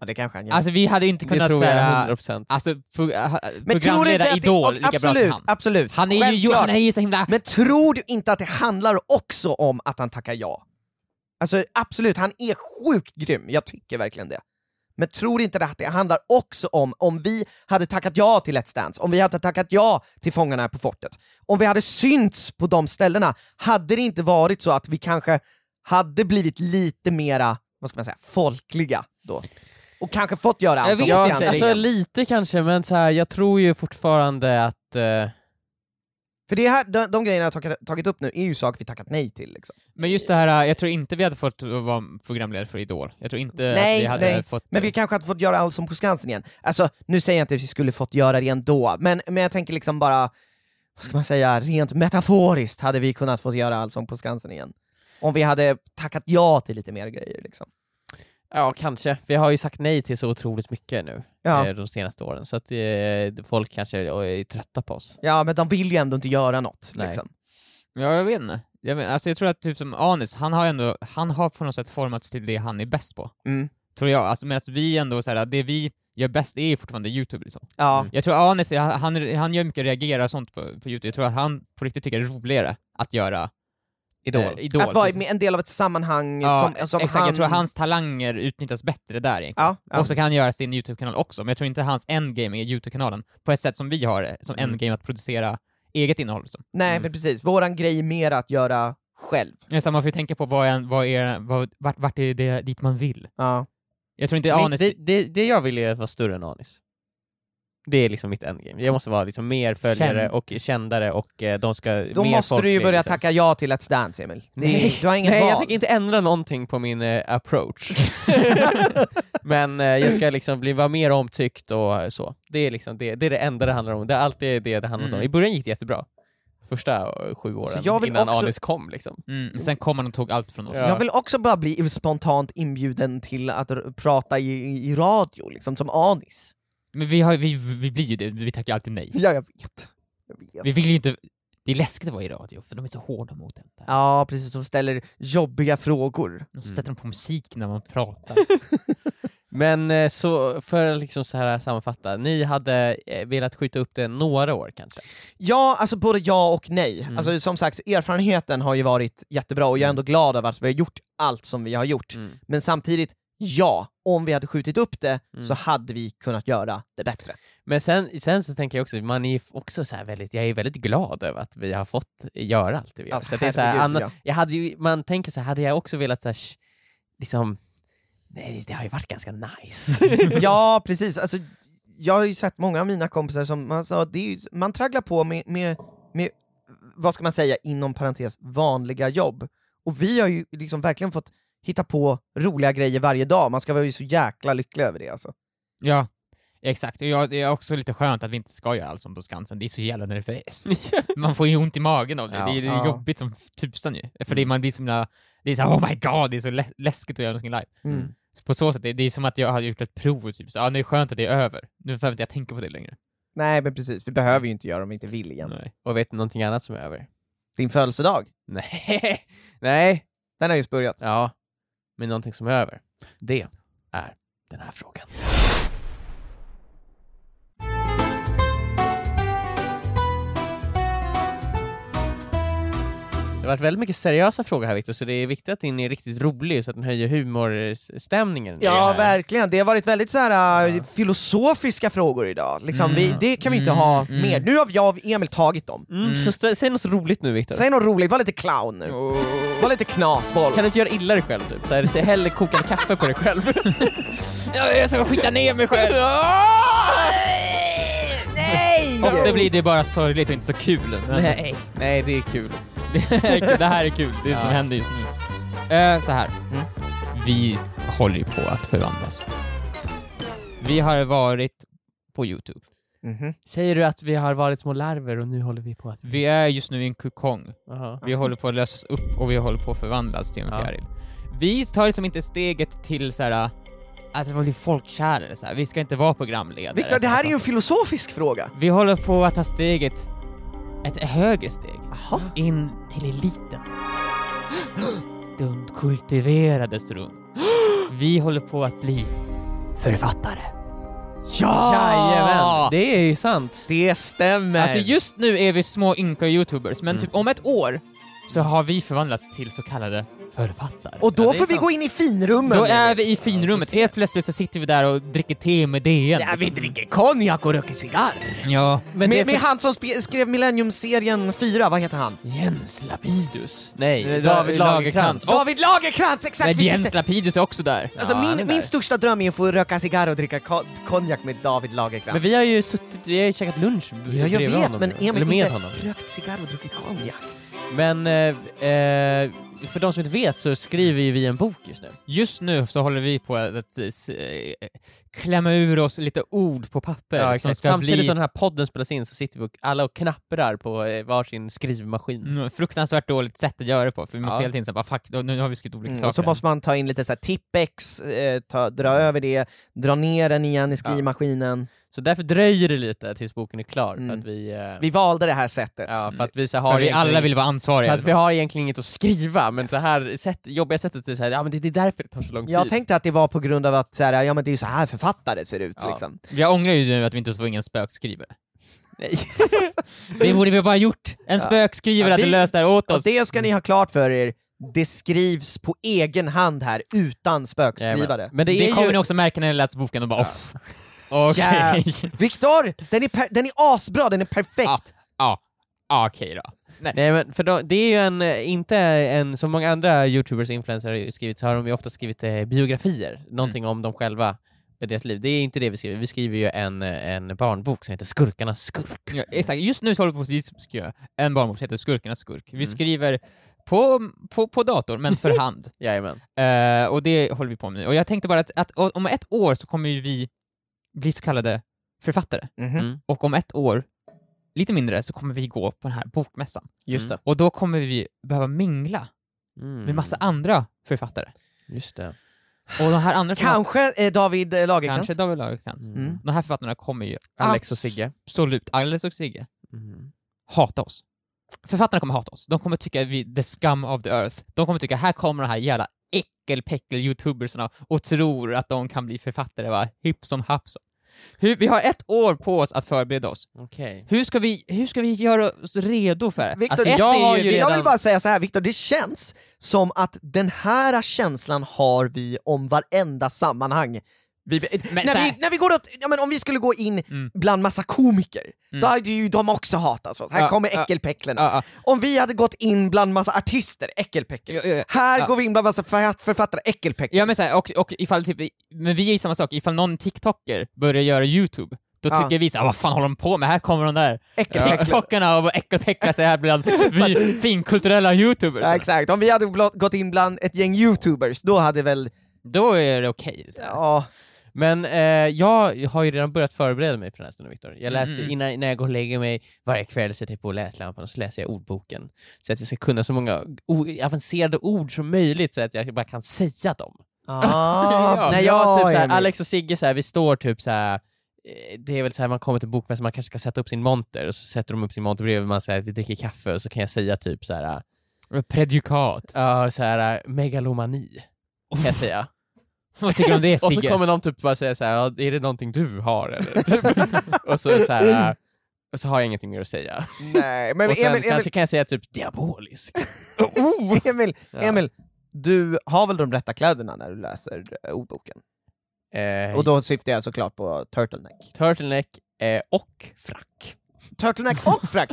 C: Ja, det kanske han gör.
D: Alltså vi hade ju inte
B: Det
D: kunnat
B: tror jag
D: såhär,
B: 100%.
D: alltså, pro- äh,
C: men tror du inte
D: programleda
C: att det,
D: Idol
C: och,
D: lika
C: absolut,
D: bra som han.
C: Absolut,
D: Han är ju, han
C: självklart.
D: är ju så himla...
C: Men tror du inte att det handlar också om att han tackar ja? Alltså absolut, han är sjukt grym, jag tycker verkligen det. Men tror du inte att det handlar också om, om vi hade tackat ja till Let's Dance, om vi hade tackat ja till Fångarna på fortet, om vi hade synts på de ställena, hade det inte varit så att vi kanske hade blivit lite mera, vad ska man säga, folkliga då? Och kanske fått göra allt
E: Jag
C: som
E: vet
C: måste
E: inte.
C: i entrén.
B: Alltså lite kanske, men så här, jag tror ju fortfarande att... eh,
C: För det här, de, de grejerna jag tagit, tagit upp nu är ju saker vi tackat nej till. Liksom.
D: Men just det här, eh, jag tror inte vi hade fått vara programledare för Idol. Jag tror inte
C: Nej,
D: att vi hade
C: nej.
D: fått... äh,
C: Men vi kanske hade fått göra Allsång på Skansen igen. Alltså, nu säger jag inte att vi skulle fått göra det ändå, men, men jag tänker liksom bara, vad ska man säga, rent metaforiskt hade vi kunnat få göra Allsång på Skansen igen. Om vi hade tackat ja till lite mer grejer. Liksom.
B: ja, kanske. Vi har ju sagt nej till så otroligt mycket nu
C: Ja.
B: eh, de senaste åren, så att eh, folk kanske är, är trötta på oss.
C: ja, men de vill ju ändå inte göra något.
B: Nej.
C: Liksom.
D: Ja, jag vet inte. Jag, men, alltså, jag tror att typ som Anis, han har ändå, han har på något sätt formats till det han är bäst på.
C: Mm.
D: Tror jag. Alltså medan vi ändå, så här, det vi gör bäst är ju fortfarande YouTube liksom.
C: Ja.
B: Mm.
D: Jag tror Anis, han, han, han gör mycket reagera och sånt på, på YouTube. Jag tror att han på riktigt tycker det är roligare att göra
B: Idol.
D: eh, idol
C: Att vara
D: liksom.
C: med en del av ett sammanhang
D: Ja,
C: som, som
D: exakt,
C: han...
D: jag tror hans talanger utnyttjas bättre där egentligen.
C: Ja, ja.
D: Och så kan han göra sin YouTube-kanal också, men jag tror inte hans endgame är YouTube-kanalen på ett sätt som vi har det, som endgame att producera eget innehåll. Liksom.
C: Nej
B: Mm.
C: men precis, våran grej är mer att göra själv.
D: Ja, så man får ju tänka på vad är, vad är, vad, vart, vart är det dit man vill.
C: Ja.
D: Jag tror inte
B: Men
D: Anis...
B: Det, det, det jag vill är att vara större än Anis. Det är liksom mitt endgame. Jag måste vara liksom mer följare
D: Känd.
B: och kändare och eh, de ska...
C: Då
B: mer
C: måste du ju
B: folklig,
C: börja
B: liksom.
C: tacka ja till Let's Dance Emil. Det,
B: Nej.
C: Du har inget
B: Nej,
C: val.
B: jag tänker inte ändra någonting på min eh, approach. Men eh, jag ska liksom bli, vara mer omtyckt och eh, så. Det är, liksom det, det är det enda det handlar om. Det är alltid det det handlar
D: Mm.
B: om. I början gick det jättebra. Första eh, sju åren
C: jag vill
B: innan
C: också-
B: Anis kom liksom.
D: Mm, sen kom han och tog allt från oss.
B: Ja.
C: Jag vill också bara bli spontant inbjuden till att r- prata i, i- i radio, liksom som Anis.
D: Men vi, har, vi, vi blir ju det, vi tackar alltid nej.
C: Ja, jag vet. Jag vet.
D: Vi vill ju inte... Det är läskigt att vara i radio, för de är så hårda mot en. Där.
C: Ja, precis. Som ställer jobbiga frågor.
D: De sätter på musik när man pratar.
B: Men eh, så för att liksom så här sammanfatta, ni hade eh, velat skjuta upp det några år kanske?
C: Ja, alltså både ja och nej.
B: Mm.
C: Alltså, som sagt, erfarenheten har ju varit jättebra och jag är ändå glad över att vi har gjort allt som vi har gjort.
B: Mm.
C: Men samtidigt, ja, om vi hade skjutit upp det
B: Mm.
C: så hade vi kunnat göra det bättre.
B: Men sen, sen så tänker jag också, man är ju också så här väldigt, jag är väldigt glad över att vi har fått göra allt det vi gör.
C: Ja,
B: så att det är så här,
C: herregud,
B: annan,
C: ja.
B: jag hade ju, man tänker så här, hade jag också velat så här, sh- liksom, nej det har ju varit ganska nice.
C: ja, precis. Alltså, jag har ju sett många av mina kompisar som man, sa, det är ju, man tragglar på med, med, med, vad ska man säga, inom parentes, vanliga jobb. Och vi har ju liksom verkligen fått hitta på roliga grejer varje dag. Man ska vara ju så jäkla lycklig över det alltså.
D: ja, exakt. Och jag, det är också lite skönt att vi inte ska göra allt som på Skansen. Det är så jävla nervöst. Man får ju ont i magen av det.
B: Ja. Mm.
D: det är, det är
C: Ja.
D: jobbigt som tusan ju. För det, man blir som himla- det är så här, oh my god, det är så lä- läskigt att göra någonting live.
C: Mm.
D: Så På så sätt, det, det är som att jag hade gjort ett prov och typ så, ah, det är skönt att det är över. Nu behöver inte jag tänka på det längre.
C: Nej men precis, vi behöver ju inte göra det om vi inte vill igen.
D: Nej.
B: Och vet ni någonting annat som är över?
C: Din födelsedag,
B: Nej, nej,
C: den har just börjat.
B: ja, men någonting som är över, det är den här frågan. Det har varit väldigt mycket seriösa frågor här Viktor, så det är viktigt att din är riktigt rolig så att den höjer humorstämningen. i
C: Ja,
B: det här.
C: verkligen. Det har varit väldigt så här, äh,
B: Ja.
C: filosofiska frågor idag. Liksom,
D: Mm.
C: vi, det kan vi inte ha
D: Mm,
C: mer.
D: mm.
C: Nu har jag och Emil tagit dem.
B: Mm, så stä- säg något roligt nu Viktor.
C: Säg något roligt, var lite clown nu.
B: Oh.
C: Var lite knasboll.
B: Kan du inte göra illa dig själv typ? Så här, säg hellre kokande kaffe på dig själv.
D: Jag ska skita ner mig själv!
C: Nej!
D: Ofta blir det bara sorgligt och inte så kul. Men
B: Nej. Nej, det är kul.
D: det här är kul, det är det som händer just nu. Eh, så här.
C: Mm.
D: Vi håller ju på att förvandlas. Vi har varit på Youtube.
C: Mhm.
B: Säger du att vi har varit små larver och nu håller vi på att...
D: Vi är just nu i en kokong.
B: Aha.
D: Vi håller på att lösas upp och vi håller på att förvandlas till en
B: Ja.
D: fjäril. Vi tar liksom inte steget till så här. alltså vad blir folkkärare så här. vi ska inte vara programledare.
C: Viktor, det här är ju
D: Så
C: en filosofisk fråga.
D: Vi håller på att ta steget, ett högre steg, in till eliten. Den kultiverades rum. Vi håller på att bli författare.
C: Ja!
D: Ah.
B: Jajamän, det är ju sant.
C: Det stämmer. Mm.
D: Alltså just nu är vi små ynka youtubers, men typ om ett år så har vi förvandlats till så kallade författare.
C: Och då
B: Ja, det är
C: får vi
B: sant.
C: gå in i finrummen!
D: Då är
C: Emil.
D: vi i finrummet. Helt plötsligt så sitter vi där och dricker te med DN. liksom.
C: Ja, vi dricker konjak och röker cigarr!
D: Ja.
B: Men det är
C: Med,
B: för
C: med han som spe- skrev Millennium-serien 4, vad heter han?
B: Jens Lapidus. Nej,
D: Eh,
B: David
D: David Lagercrantz.
B: Lagercrantz.
C: David Lagercrantz! Exakt!
D: Men
C: vi
D: Jens
C: sitter-
D: Lapidus är också där.
C: Alltså
B: Ja, han är
C: min,
B: där.
C: min största dröm är att få röka cigarr och dricka ko- konjak med David Lagercrantz.
B: Men vi har ju suttit, vi har ju käkat lunch
C: Ja, jag
B: bredvid
C: vet,
B: honom,
C: men
B: ju.
C: Emil
B: Eller med
C: inte
B: honom.
C: rökt cigarr och druckit konjak.
B: Men eh, eh, för de som inte vet så skriver ju vi en bok just nu.
D: Just nu så håller vi på att eh, s- eh, klämma ur oss lite ord på papper som ska
B: Samtidigt
D: bli
B: som den här podden spelas in så sitter vi och, alla och knapprar på eh, varsin skrivmaskin.
D: Mm, fruktansvärt dåligt sätt att göra det på, för vi måste
B: Ja.
D: hela tiden säga bara fuck, då- nu har vi skrivit olika
C: Mm,
D: saker.
C: och så
D: här."
C: måste man ta in lite så här tippex, eh, ta, dra
B: Mm.
C: över det, dra ner den igen i skrivmaskinen.
B: Så därför dröjer det lite tills boken är klar. För
C: Mm.
B: att vi, eh,
C: Vi valde det här sättet. Mm.
B: ja, för att vi, så
D: För
B: har
D: vi
B: egentligen-
D: alla vill alltså. vara
B: för
D: ansvariga.
B: att vi har egentligen inget att skriva, men det här sätt, jobbiga sättet är så här, ja men det det är därför det tar så lång
C: Jag
B: tid.
C: tänkte att det var på grund av att så här, ja, men det är ju så här författare ser ut.
B: Ja.
C: Liksom.
D: Jag ångrar ju nu att vi inte får ingen spökskrivare. det borde vi bara gjort! En spökskrivare
C: Ja, det-
D: hade löst det här åt
C: Och
D: oss.
C: det ska ni ha klart för er, det skrivs på egen hand här utan spökskrivare.
B: men det
D: Det,
B: är
D: kommer
B: ju...
D: ni också märka när ni läser boken och bara off. Okej.
C: Ja. Viktor, den är, per- den är asbra, den är perfekt!
D: Ja. Ja, ja, okej då.
B: Nej, men för då, det är ju en, eh, inte en, som många andra youtubers och influencers har ju skrivit, så har de ju ofta skrivit eh, biografier, någonting om dem själva och deras liv. Det är inte det vi skriver, vi skriver ju en, eh, en barnbok som heter Skurkarnas skurk.
D: Ja, exakt, just nu så håller vi på att skriva en barnbok som heter Skurkarnas skurk. Vi skriver på, på, på dator, men för hand.
B: Jajamän.
D: Eh, och det håller vi på med nu. Och jag tänkte bara att, att o- om ett år så kommer ju vi bli så kallade författare.
C: Mhm,
B: Mm.
D: Och om ett år, lite mindre, så kommer vi gå på den här bokmässan.
C: Just
B: Mm.
C: det.
D: Och då kommer vi behöva mingla med massa andra författare.
B: Just det.
D: Och de här andra författarna,
C: Kanske eh, David eh, Lagercrantz?
D: kanske David Lagercrantz.
C: Mm.
D: De här författarna kommer ju
B: Alex och Sigge.
D: absolut, Alex och Sigge, hata oss. Författarna kommer hata oss. De kommer tycka vi the scum of the earth. De kommer tycka här kommer de här jävla äckelpäckel-youtubersarna och tror att de kan bli författare va? hipp som happ som. Hur, vi har ett år på oss att förbereda oss.
B: Okej.
D: Hur ska vi, hur ska vi göra oss redo för det?
C: Viktor,
D: Alltså,
C: det-
D: ett
B: jag
D: är
B: har ju
D: vi-
C: Jag vill
B: redan-
C: bara säga så här, Viktor, det känns som att den här känslan har vi om varenda sammanhang. Vi,
D: Men
C: när,
D: så här-
C: vi, när vi går åt, ja, men om vi skulle gå in
D: Mm.
C: bland massa komiker, då
D: Mm.
C: hade ju de också hatat oss. Här
D: Ja,
C: kommer
D: ja,
C: äckelpäcklen.
D: Ja, ja.
C: Om vi hade gått in bland massa artister, äckelpäckel.
D: Ja, ja, ja.
C: Här
D: Ja.
C: går vi in bland massa författ- författare, äckelpäckel.
D: Ja men såhär, och, och ifall typ, men vi är ju samma sak, ifall någon TikToker börjar göra YouTube, då
C: Ja.
D: tycker vi såhär, vad fan håller de på med? Här kommer de där
C: äckelpäcklen.
D: TikTokarna och äckelpäcklar sig här bland vi finkulturella YouTubers.
C: Ja, exakt, om vi hade blott gått in bland ett gäng youtubers, då hade väl...
D: Då är det okej.
C: Ja,
B: Men eh, jag har ju redan börjat förbereda mig för den här stunden Viktor. Jag läser,
D: Mm.
B: innan, innan jag går och lägger mig varje kväll sätter jag på läslampan och så läser jag ordboken. Så att jag ska kunna så många o- avancerade ord som möjligt så att jag bara kan säga dem.
C: Ah,
D: Ja,
B: När jag, typ,
C: bra,
B: såhär,
C: Emil.
B: Alex och Sigge, såhär, vi står typ såhär, eh, det är väl såhär man kommer till bokmässan, man kanske ska sätta upp sin monter och så sätter de upp sin monter bredvid man säger vi dricker kaffe och så kan jag säga typ såhär,
D: Prejudikat.
B: uh, såhär eh, megalomani. Kan jag säga.
D: Vad tycker du om det
B: Och så
D: Sigge?
B: kommer de typ bara säga såhär, "Ja, är det någonting du har eller? Typ. och så såhär, eh, och så har jag ingenting mer att säga.
C: Nej, men
B: och sen
C: Emil, Emil,
B: kanske kan jag säga typ diabolisk.
C: Oh, Emil,
B: Ja.
C: Emil, du har väl de rätta kläderna när du läser eh, ordboken?
B: Eh,
C: Och då syftar jag såklart på turtleneck.
B: Turtleneck eh, och frack.
C: Turtleneck och frack!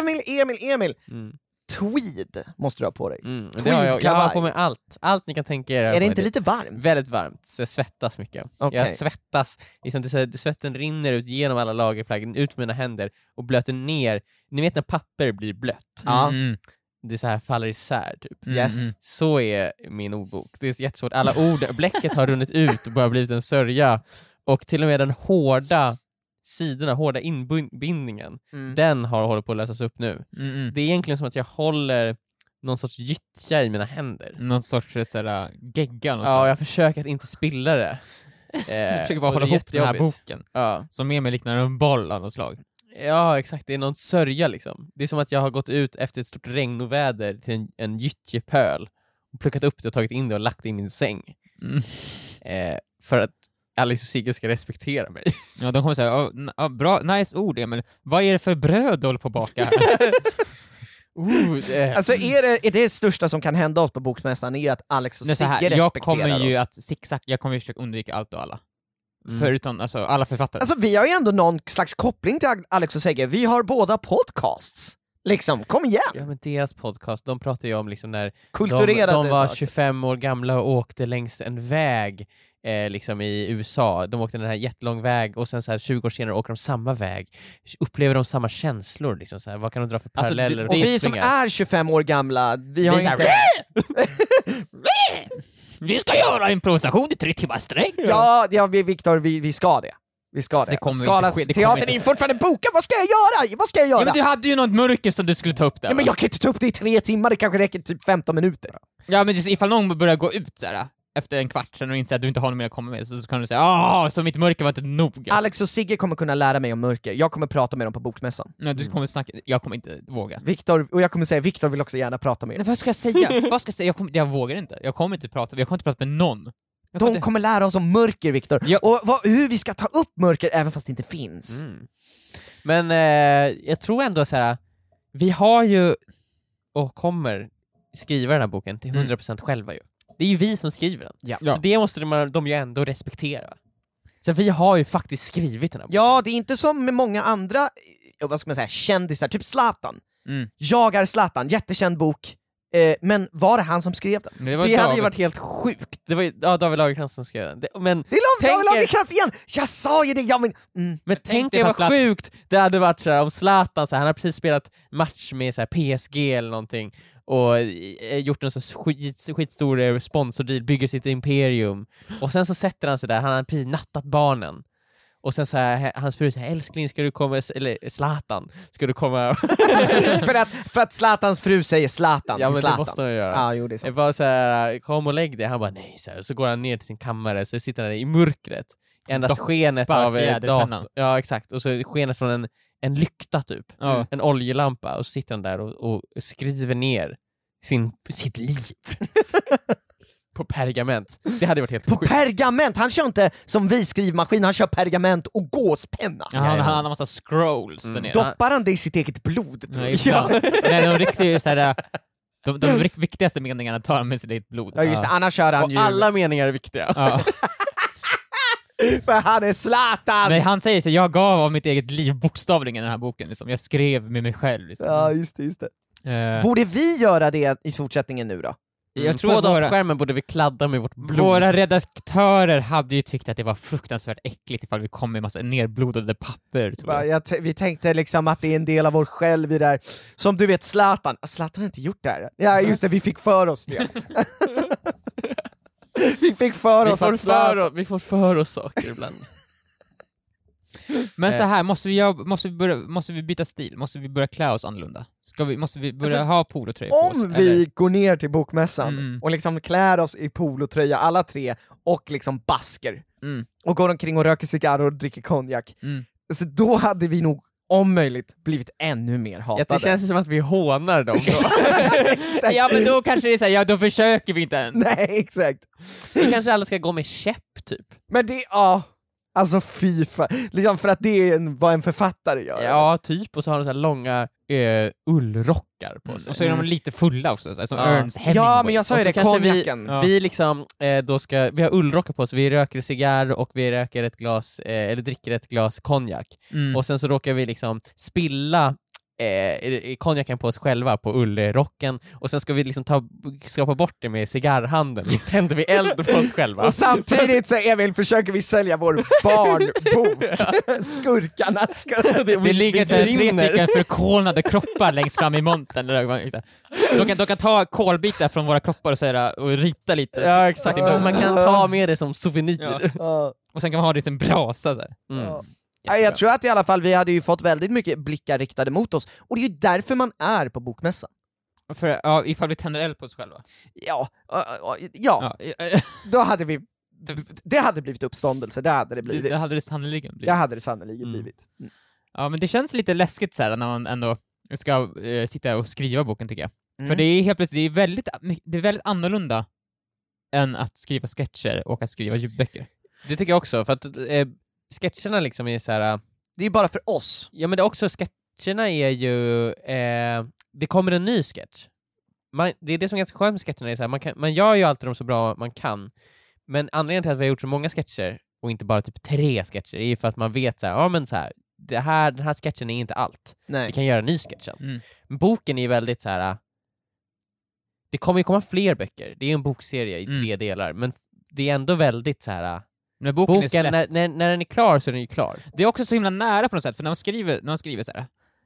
C: Emil, Emil, Emil!
B: Mm.
C: Tweed måste du ha på dig.
B: Mm. Det har jag, jag har
C: Tweedkavaj.
B: på mig allt, allt ni kan tänka er. har
C: Är det
B: jag på
C: inte
B: mig.
C: lite varmt?
B: Väldigt varmt, så jag svettas mycket.
C: Okej.
B: Jag svettas, liksom, det är så här, svetten rinner ut genom alla lagerplaggen, ut med mina händer och blöter ner. Ni vet när papper blir blött?
C: Ja.
D: Mm.
B: Det så här faller isär typ.
C: Yes.
D: Mm.
B: Så är min ordbok. Det är jättesvårt. Alla ord, bläcket har runnit ut och bara blivit en sörja. Och till och med den hårda sidorna, hårda inbindningen,
C: Mm.
B: den har hållit på att lösas upp nu.
D: Mm. Mm.
B: Det är egentligen som att jag håller någon sorts gyttja i mina händer.
D: Någon sorts eh, såhär, gegga
B: Ja,
D: någonstans.
B: jag försöker att inte spilla det. Eh,
D: jag försöker bara
B: och
D: hålla
B: det är
D: ihop den här
B: jättejobbigt.
D: boken,
B: Ja.
D: som mer mig liknar en boll av något slag.
B: ja, exakt. Det är någon sörja liksom. Det är som att jag har gått ut efter ett stort regnoväder till en, en gyttjepöl, och plockat upp det och tagit in det och lagt det i min säng.
D: Mm.
B: Eh, för att Alice och Sigge ska respektera mig.
D: Ja, de kommer säga, "Ja, n- ja, bra, nice ord Emil. Vad är det för bröd du håller på att baka här? Ooh, eh.
C: Alltså är det, är det största som kan hända oss på Bokmässan är att Alex och
D: Nej, så
C: Sigge
D: här,
C: respekterar
D: jag kommer ju
C: oss.
D: att zigzag, jag kommer ju försöka undvika allt och alla.
C: Mm.
D: Förutom alltså, alla författare.
C: Alltså vi har ju ändå någon slags koppling till Alex och Sigge, vi har båda podcasts. Liksom, kom igen!
B: Ja men deras podcast, de pratar ju om liksom när
C: Kulturerade
B: de, de var
C: saker.
B: 25 år gamla och åkte längs en väg eh, liksom i USA. De åkte den här jättelång väg och sen så här 20 år senare åker de samma väg. Upplever de samma känslor? Liksom så här. Vad kan de dra för
D: Alltså, det-
B: paralleller?
C: Och vi som
B: kopplingar?
C: är 25 år gamla, vi har
D: är så här,
C: inte...
D: Vi ska göra improvisation i tre timmar sträck!
C: Ja, ja vi, Viktor, vi, vi ska det. Vi ska det.
D: Det kommer inte ske, det kommer
C: teatern
D: inte
C: är
D: ske.
C: fortfarande bokad, vad ska jag göra? Vad ska jag göra?
D: Ja, men du hade ju något mörker som du skulle ta upp där.
C: Ja, men
D: va?
C: jag kan inte ta upp det i tre timmar, det kanske räcker typ 15 minuter.
D: ja, men just ifall någon börjar gå ut så här, efter en kvart sen och inser att du inte har något mer att komma med, så, så kan du säga ah, så mitt mörker var inte nog. Alltså.
C: Alex och Sigge kommer kunna lära mig om mörker, jag kommer prata med dem på bokmässan.
D: Nej, du kommer snacka, jag kommer inte våga.
C: Viktor, och jag kommer säga Viktor vill också gärna prata med er.
D: Nej, vad ska jag säga? vad ska jag säga? Jag, kommer, jag vågar inte. Jag kommer inte prata, jag kommer inte prata med någon. Jag
C: De
D: kommer inte-
C: kommer lära oss om mörker, Viktor.
D: Ja.
C: Och vad, hur vi ska ta upp mörker även fast det inte finns.
B: Mm. Men eh, jag tror ändå så här. vi har ju och kommer skriva den här boken till 100% själva ju. Det är ju vi som skriver den.
C: Ja.
B: Så det måste de, de ju ändå respektera. Så vi har ju faktiskt skrivit den här boken.
C: Ja, det är inte som med många andra eh, vad ska man säga, kändisar, typ Zlatan.
D: Mm.
C: Jag är Zlatan, jättekänd bok. Eh, men var det han som skrev den?
D: Det, var
B: Det hade ju
D: David.
B: varit helt sjukt. Det var ju, ja, David Lagercrantz som skrev den. Det, men
C: Det är David
B: Tänk er-
C: Lagercrantz igen! Jag sa ju det! Jag men, mm.
B: men tänk
D: dig
B: dig vad
D: fast Zlatan-
B: sjukt det hade varit så här, om Zlatan, så här, han har precis spelat match med så här, PSG eller någonting och eh, gjort en så skit, skitstor eh, sponsordeal, bygger sitt imperium. Och sen så sätter han sig där, han har precis nattat barnen. Och sen så här, h- hans fru säger älskling, ska du komma, eller Zlatan, ska du komma?
C: för, att, för att Zlatans fru säger Zlatan
B: ja
C: till
B: men det
C: Zlatan.
B: måste han ju göra.
C: Ja, jo, det är
B: Typ. Jag
C: sant.
B: bara så här, kom och lägg dig. Han bara nej. Så, här. Och så går han ner till sin kammare, så sitter han där i mörkret. i Endast
D: Doppar
B: skenet av eh,
D: fjäderpennan.
B: datorn. Ja, exakt. Och så skenet från en, en lykta typ.
D: Ja.
B: En oljelampa. Och så sitter han där och, och skriver ner sin, sitt liv. På pergament. Det hade varit helt
C: På
B: sjukt.
C: pergament! Han kör inte som vi skrivmaskin, han kör pergament och gåspenna.
D: Ja, han, han hade en massa scrolls där nere.
C: Doppar han det i sitt eget blod? tror
D: Nej,
C: jag.
D: ja. Nej, de riktigt så här, de, de rik- viktigaste meningarna tar han med sitt eget blod.
C: Ja just det, annars kör han
B: Och
C: ju...
B: alla meningar är viktiga.
D: Ja.
C: För han är Zlatan!
D: Men han säger så jag gav av mitt eget liv bokstavligen i den här boken. Liksom. Jag skrev med mig själv. Liksom.
C: Ja, just det, just det.
D: Eh,
C: Borde vi göra det i fortsättningen nu då?
D: jag tror
B: På
D: att våra,
B: datorskärmen Mm. borde vi kladda med vårt blod.
D: våra redaktörer hade ju tyckt att det var fruktansvärt äckligt ifall vi kom med massa nerblodade papper. Tror
C: Bara,
D: jag.
C: jag t- vi tänkte liksom att det är en del av vår själv i det här. Som du vet Zlatan, Ah, Zlatan har inte gjort det här. Ja just det, vi fick för oss det. vi fick för
B: vi,
C: oss
B: får
C: att
B: för,
C: Zlatan...
B: oss- vi får för oss saker ibland.
D: Men så här, måste vi, göra- måste, vi börja, måste vi byta stil? Måste vi börja klä oss annorlunda? Ska vi, måste vi börja ha polotröjor på oss?
C: Alltså, Om vi går ner till bokmässan
D: Mm.
C: och liksom klär oss i polotröja alla tre och liksom basker
D: Mm.
C: och går omkring och röker cigarrer och dricker konjak,
D: Mm.
C: så då hade vi nog om möjligt blivit ännu mer
B: Ja,
C: hatade.
B: det känns som att vi hånar dem. Då.
C: Exakt.
D: Ja men då kanske det är såhär, ja då försöker vi inte ens.
C: Nej, exakt.
B: Vi kanske alla ska gå med käpp typ.
C: Men det, ja. Alltså fy fan. Liksom för att det är en, vad en författare gör.
B: Ja, typ. Och så har de så här långa eh, ullrockar på sig.
D: Mm, Och så är de lite fulla också, så här, som
B: Ja.
D: Ernst Hemingway.
C: ja men jag sa
B: Och
C: ju
B: så
C: det,
B: kanske vi-
C: konjaken.
D: Ja.
B: Vi, liksom, eh, då ska, vi har ullrockar på oss, vi röker cigarr och vi röker ett glas, eh, eller dricker ett glas konjak.
D: Mm.
B: Och sen så råkar vi liksom spilla eh, konjaken på oss själva, på ullrocken, och sen ska vi liksom ta, skapa bort det med cigarrhanden. Då tänder vi eld på oss själva.
C: Och samtidigt så Emil försöker vi sälja vår barnbok. Skurkarnas skurk.
D: Det ligger typ tre
B: brinner.
D: stycken förkolnade kroppar längst fram i montern. där ögonen- De kan, de kan ta kolbitar från våra kroppar och, så här, och rita lite.
B: Ja exakt,
D: Så-
B: man kan ta med det som souvenir.
D: Ja.
C: Ja.
D: Och sen kan man ha det i sin brasa. Så här.
B: Mm.
C: Ja. Ja, jag tror att i alla fall vi hade ju fått väldigt mycket blickar riktade mot oss, och det är ju därför man är på bokmässan.
D: För, ja, ifall vi tänder eld på oss själva.
C: Ja, ja, ja, ja,
D: Ja. eh,
C: då hade vi... Det hade blivit uppståndelse, det hade det blivit.
D: Det hade det sannoliken
C: Det
D: blivit.
C: hade det sannerligen
D: Mm.
C: blivit.
D: Ja, men det känns lite läskigt så här, när man ändå ska eh, sitta och skriva boken tycker jag.
C: Mm.
D: För det är helt plötsligt det är väldigt, det är väldigt annorlunda än att skriva sketcher och att skriva ljudböcker.
B: Det tycker jag också, för att eh, sketcherna liksom är så här.
C: Det är ju bara för oss.
B: ja men det är också ske- sketcherna är ju... Eh, det kommer en ny sketch. Man, det är det som är ganska skönt med sketcherna, är så här, man, kan, man gör ju alltid dem så bra man kan, men anledningen till att vi har gjort så många sketcher och inte bara typ tre sketcher är ju för att man vet så här, ja men så här, det här, den här sketchen är inte allt. Vi
C: Nej.
B: kan göra en ny sketch sen.
D: Mm.
B: Men Boken är ju väldigt så här. äh, det kommer ju komma fler böcker, det är ju en bokserie i tre
D: Mm.
B: delar, men f- det är ändå väldigt så här. äh,
D: När boken, är
B: boken,
D: släppt.
B: när, när, när den är klar så är den ju klar.
D: Det är också så himla nära på något sätt, för när man skriver, när man skriver så här.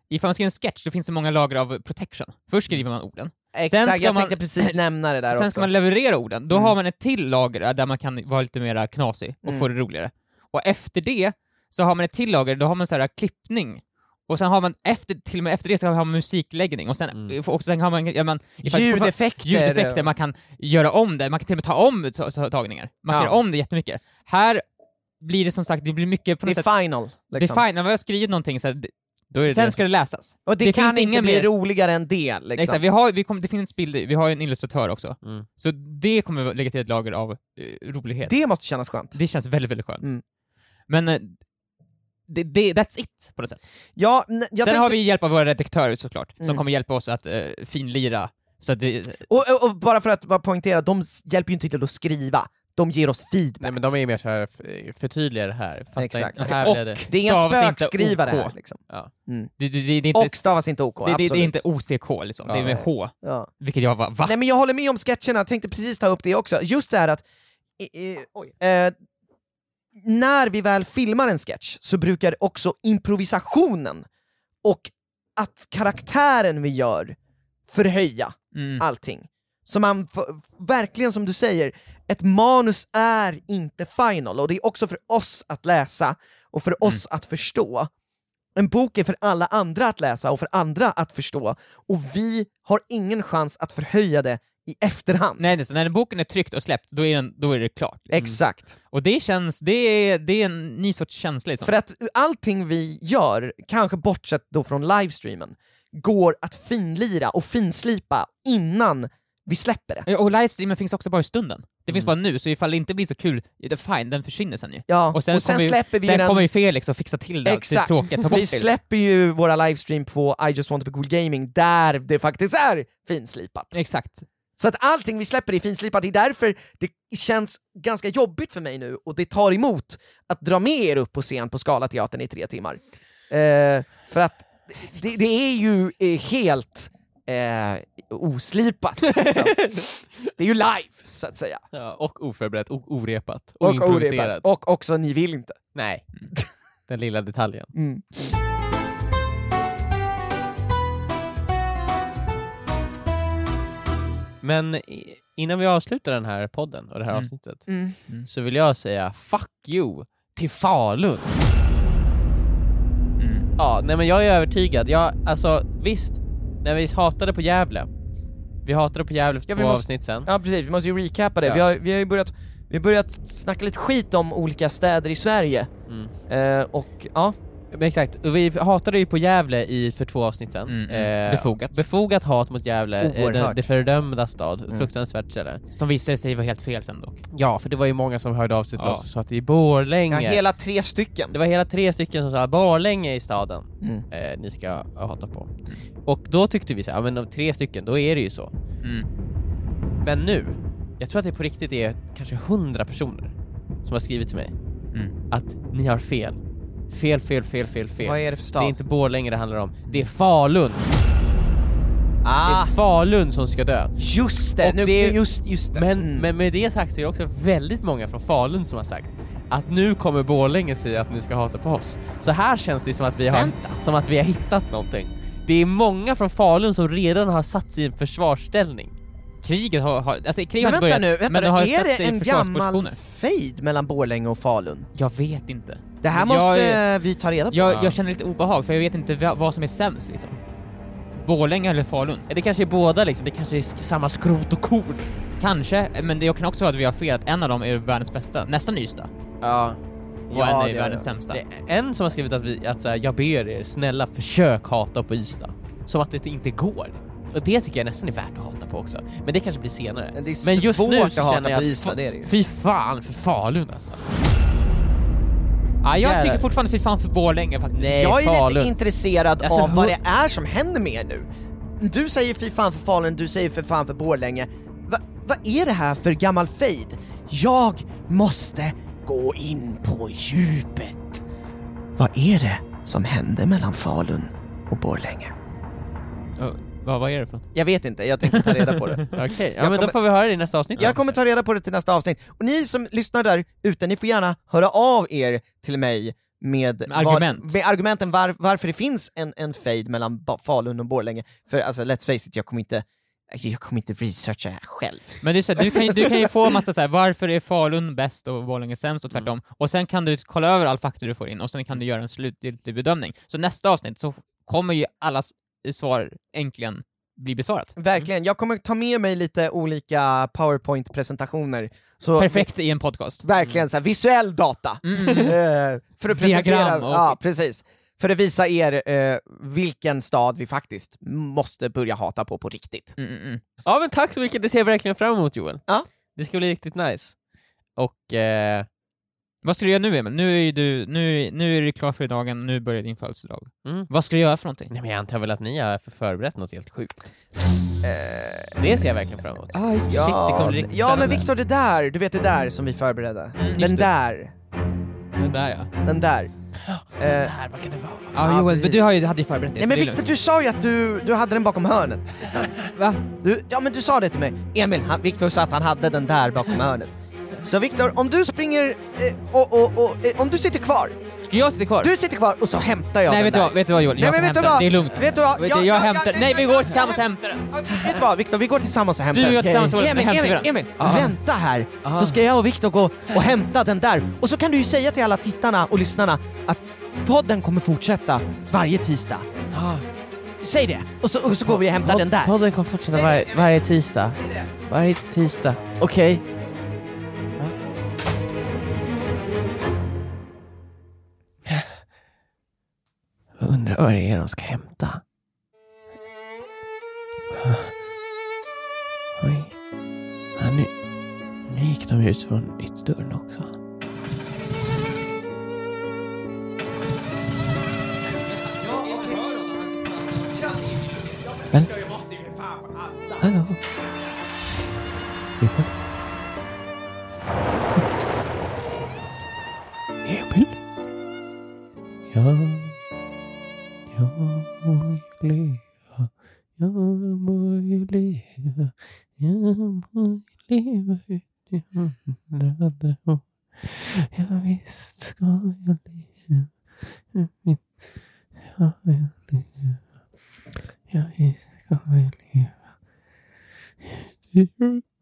D: Ifall man skriver en sketch, då finns det många lager av protection. Först skriver man orden,
C: Exakt,
D: ska
C: jag
D: man-
C: tänkte precis nämna det Mm. där
D: sen
C: också.
D: ska man leverera orden, då
C: Mm.
D: har man ett till lager där man kan vara lite mer knasig och få det roligare. Och efter det så har man ett till lager, då har man så här klippning, och sen har man efter, till och med efter det så har man musikläggning, och sen,
B: Mm.
D: och sen har man, ja, man ifall-
C: Ljudeffekter.
D: ljudeffekter, man kan göra om det, man kan till och med ta om ta- ta- tagningar. Man kan
C: Ja.
D: göra om det jättemycket. Här blir det som sagt, det blir mycket på
C: Det
D: något
C: är
D: sätt...
C: final. Liksom.
D: Det är fine, när vi har skrivit någonting så här, det- sen ska det läsas.
C: Och det,
D: Det
C: kan
D: finns
C: inte
D: inga
C: bli
D: mer-
C: roligare än det. Liksom.
D: Exakt, vi har, vi kommer, det finns bilder, vi har ju en illustratör också.
B: Mm.
D: Så det kommer lägga till ett lager av eh, rolighet. Det,
C: Det måste kännas skönt.
D: känns väldigt, väldigt skönt.
C: Mm.
D: Men eh, det, det, that's it på något sätt.
C: Ja, n- jag
D: Sen
C: tänkte,
D: har vi hjälp av våra redaktörer såklart,
C: Mm.
D: som kommer hjälpa oss att eh, finlira. Så att det,
C: och, och, och bara för att bara poängtera, de s- hjälper ju inte till att skriva, de ger oss feedback.
B: Nej men de är ju mer såhär, f- förtydliga det här. Fatta
C: Exakt.
B: inte, här
D: Och-
B: blev det.
C: det är inga
D: stavas inte
C: spökskrivare
D: OK.
C: här. Liksom.
D: det, det, det, det är inte...
C: Och stavas inte OK,
D: det, det, det är
C: absolut.
D: inte OCK liksom, det
B: Ja.
D: är med H,
C: Ja.
D: vilket jag var va?
C: Nej men jag håller med om sketcherna, jag tänkte precis ta upp det också. Just det här att... i- i- oj, eh, när vi väl filmar en sketch så brukar också improvisationen och att karaktären vi gör förhöja
D: Mm.
C: allting. Så man, f- verkligen som du säger, ett manus är inte final, och det är också för oss att läsa och
D: Mm.
C: för oss att förstå. En bok är för alla andra att läsa och för andra att förstå, och vi har ingen chans att förhöja det i efterhand.
D: Nej, Mm. det är så, när boken är tryckt och släppt, då är, den, då är det klart.
C: Exakt.
D: Och det känns, det är, det är en ny sorts känsla liksom.
C: För att allting vi gör, kanske bortsett då från livestreamen, går att finlira och finslipa innan vi släpper det.
D: Ja, Och livestreamen finns också bara i stunden. Det finns bara nu, så ifall det inte blir så kul, ja, det fine, den försvinner sen ju.
C: Mm. Ja,
D: Och sen kommer vi-
C: släpper vi
D: Sen
C: den
D: kommer ju Felix och fixa till det, det är
C: Exakt.
D: tråkigt, ta bort
C: Vi
D: det.
C: släpper ju våra livestream på I just want to be cool gaming där det faktiskt är finslipat.
D: Exakt.
C: Så att allting vi släpper är finslipat, det är därför det känns ganska jobbigt för mig nu och det tar emot att dra med er upp på scen på Scalateatern i tre timmar. Eh, för att det, det är ju eh, helt eh, oslipat. liksom. det är ju live, så att säga.
B: Ja, och oförberett, och orepat, och,
C: Och
B: improviserat.
C: orepat. Och också Ni vill inte.
B: Nej. Den lilla detaljen.
C: Mm.
B: Men i- innan vi avslutar den här podden och det här
D: Mm.
B: avsnittet
C: Mm.
B: så vill jag säga fuck you till Falun.
D: Mm.
B: Ja, nej men jag är övertygad. Jag, alltså visst, när vi hatade på Gävle, vi hatade på Gävle för
C: Ja, vi
B: två
C: måste-
B: avsnitt sen.
C: Ja precis, vi måste ju recapa det.
B: Ja.
C: Vi, har, vi har ju börjat, vi har börjat snacka lite skit om olika städer i Sverige.
B: Mm.
C: Eh, och ja,
B: Men Exakt, och vi hatade ju på Gävle i, för två avsnitt sen.
D: Mm, mm. Befogat.
B: befogat hat mot Gävle, eh, det,
C: Oerhört.
B: det fördömda stad.
C: Mm.
B: Fruktansvärt ställe.
D: Som visade sig vara helt fel sen dock.
B: Ja, för det var ju många som hörde av sig till
D: Ja.
B: oss och sa att det är
C: ja
B: Borlänge.
C: hela tre stycken.
B: Det var hela tre stycken som sa Borlänge i staden
C: Mm.
B: eh, ni ska hata på. Och då tyckte vi så här, ja men de tre stycken, då är det ju så.
D: Mm.
B: Men nu, jag tror att det på riktigt är kanske hundra personer som har skrivit till mig
D: Mm.
B: att ni har fel. Fel, fel, fel, fel, fel.
C: Vad är det för stad?
B: Det är inte Borlänge det handlar om, det är Falun.
C: ah,
B: Det är Falun som ska dö.
C: just Ah. det!
B: Och
C: Nu,
B: det är-
C: just, just det.
B: Men,
C: Mm.
B: men med det sagt så är det också väldigt många från Falun som har sagt att nu kommer Borlänge säga att ni ska hata på oss. Så här känns det som att vi har,
D: Vänta.
B: som att vi har hittat någonting. Det är många från Falun som redan har satt sig i en försvarsställning.
D: Kriget har, har alltså kriget
C: men
D: har
C: vänta
D: inte börjat,
C: nu, vänta
D: men det
C: nu.
D: har
C: är
D: satt
C: det
D: sig i
C: en gammal
D: försvarspositioner.
C: fejd mellan Borlänge och Falun?
D: Jag vet inte.
C: Det här
D: Jag
C: måste
D: är-
C: eh, vi ta reda på.
D: Jag, jag känner lite obehag, för jag vet inte vad, vad som är sämst liksom. Borlänge eller Falun?
B: Det kanske är båda liksom, det kanske är sk- samma skrot och korn.
D: Kanske, men det kan också vara att vi har fel, att en av dem är världens bästa, nästan Ystad,
C: Ja,
D: och
C: Ja,
D: en
C: det
D: är
C: är
D: världens
C: det.
D: sämsta.
B: Det är en som har skrivit att, vi, att så här, jag ber er, snälla försök hata på Ystad. Som att det inte går. Och det tycker jag nästan är värt att hata på också. Men det kanske blir senare.
C: Men det är
B: just
C: svårt
B: nu
C: att
B: så
C: hata
B: känner jag
C: på Ystad,
B: fa-
C: det är det ju.
B: fy fan för Falun alltså.
D: Ja, jag
B: Jävlar.
D: tycker fortfarande fy fan för Borlänge faktiskt.
B: Nej,
D: jag
C: Jag är
D: Falun.
C: lite intresserad
B: Alltså,
C: av vad
B: hu-
C: det är som händer med er nu. Du säger fy fan för Falun, du säger för fan för Borlänge. Va, vad är det här för gammal fejd? Jag måste gå in på djupet. Vad är det som hände mellan Falun och Borlänge?
D: Ja, vad, vad är det för något?
C: Jag vet inte, jag tänkte ta reda på det.
B: Okej, ja,
C: Jag
B: men
C: kommer-
B: då får vi höra det i nästa avsnitt. då.
C: Jag kommer ta reda på det till nästa avsnitt. Och ni som lyssnar där ute, ni får gärna höra av er till mig med,
D: Med argument.
C: vad- med argumenten var, varför det finns en, en fade mellan ba- Falun och Borlänge. För alltså, let's face it, jag kommer inte, jag kommer inte researcha det här själv.
D: Men det är så här, du, kan, ju- du kan ju få massa så här, varför är Falun bäst och Borlänge sämst
C: Mm.
D: och tvärtom. Och sen kan du kolla över all fakta du får in och sen kan du göra en slutgiltig bedömning. Så nästa avsnitt så kommer ju allas svar äntligen bli besvarat.
C: Verkligen, jag kommer ta med mig lite olika powerpoint-presentationer. Så
D: Perfekt i en podcast. Mm,
C: Verkligen så här, visuell data. Eh, för att presentera,
D: Diagram och-
C: ja, precis. För att visa er eh, vilken stad vi faktiskt måste börja hata på på riktigt.
D: Mm, mm, mm.
B: Ja men tack så mycket, det ser jag verkligen fram emot Joel.
C: Ja.
B: Det ska bli riktigt nice. Och eh,
D: Vad ska du göra nu Emil? Nu är, ju du, nu, nu är du klar för dagen, nu börjar din födelsedag.
B: Mm.
D: Vad ska du göra för någonting?
B: nej, men jag antar väl att ni har förberett något helt sjukt. det ser jag verkligen fram emot.
D: Ah, just,
C: Eh. Ja,
D: shit, det kommer bli riktigt
C: ja men
D: spännande. Mm,
C: Viktor, det där, du vet det där som vi förberedde.
D: just
C: den
D: det.
C: där,
D: Det där ja.
C: den där. Eh,
B: Här, vad kan det vara?
D: Ja,
C: Ja,
D: Joel,
C: precis.
D: men du har ju, hade ju förberett det,
C: nej
D: så
C: men
D: det är
C: Viktor,
D: lugnt.
C: du sa ju att du, du hade den bakom hörnet.
D: Va?
C: Du, ja men du sa det till mig. Emil, han- Viktor sa att han hade den där bakom hörnet. Så Viktor, om du springer eh, och, och, och eh, om du sitter kvar,
D: Ska jag sitta kvar?
C: du sitter kvar och så hämtar jag
D: nej,
C: den
D: vet du
C: där.
D: vad, vet du vad Joel?
C: Nej
D: jag
C: men
D: kan
C: vet du
D: hämta den.
C: vad?
D: Det är lugnt.
C: Vet du vad?
D: Vet du, jag hämtar den. Nej, vi går tillsammans och hämtar den.
C: Vet du vad Viktor, vi går tillsammans och hämtar
D: Du och jag tillsammans går och
C: Emil,
D: hämtar
C: Emil,
D: den.
C: Emil, vänta här så ska jag och Viktor gå och hämta den där. Och så kan du ju säga till alla tittarna och lyssnarna att podden kommer fortsätta varje tisdag. Ah. Säg det! Och så, och så går vi och hämtar den där.
B: Podden kommer fortsätta
C: Säg det,
B: varje,
C: Emil.
B: varje tisdag.
C: Säg det.
B: Varje tisdag. Okej. Va? Jag Undrar vad det är de ska hämta. Oj. Ja, nu, nu gick de ut från ytterdörren också. Men... Hallå? Emil? Emil? Jag... Jag må ju leva. Jag må ju leva. Jag må ju leva ut i hundrade år. Ja, visst ska jag leva. Ja, visst ska jag leva. Ja, visst ska jag leva.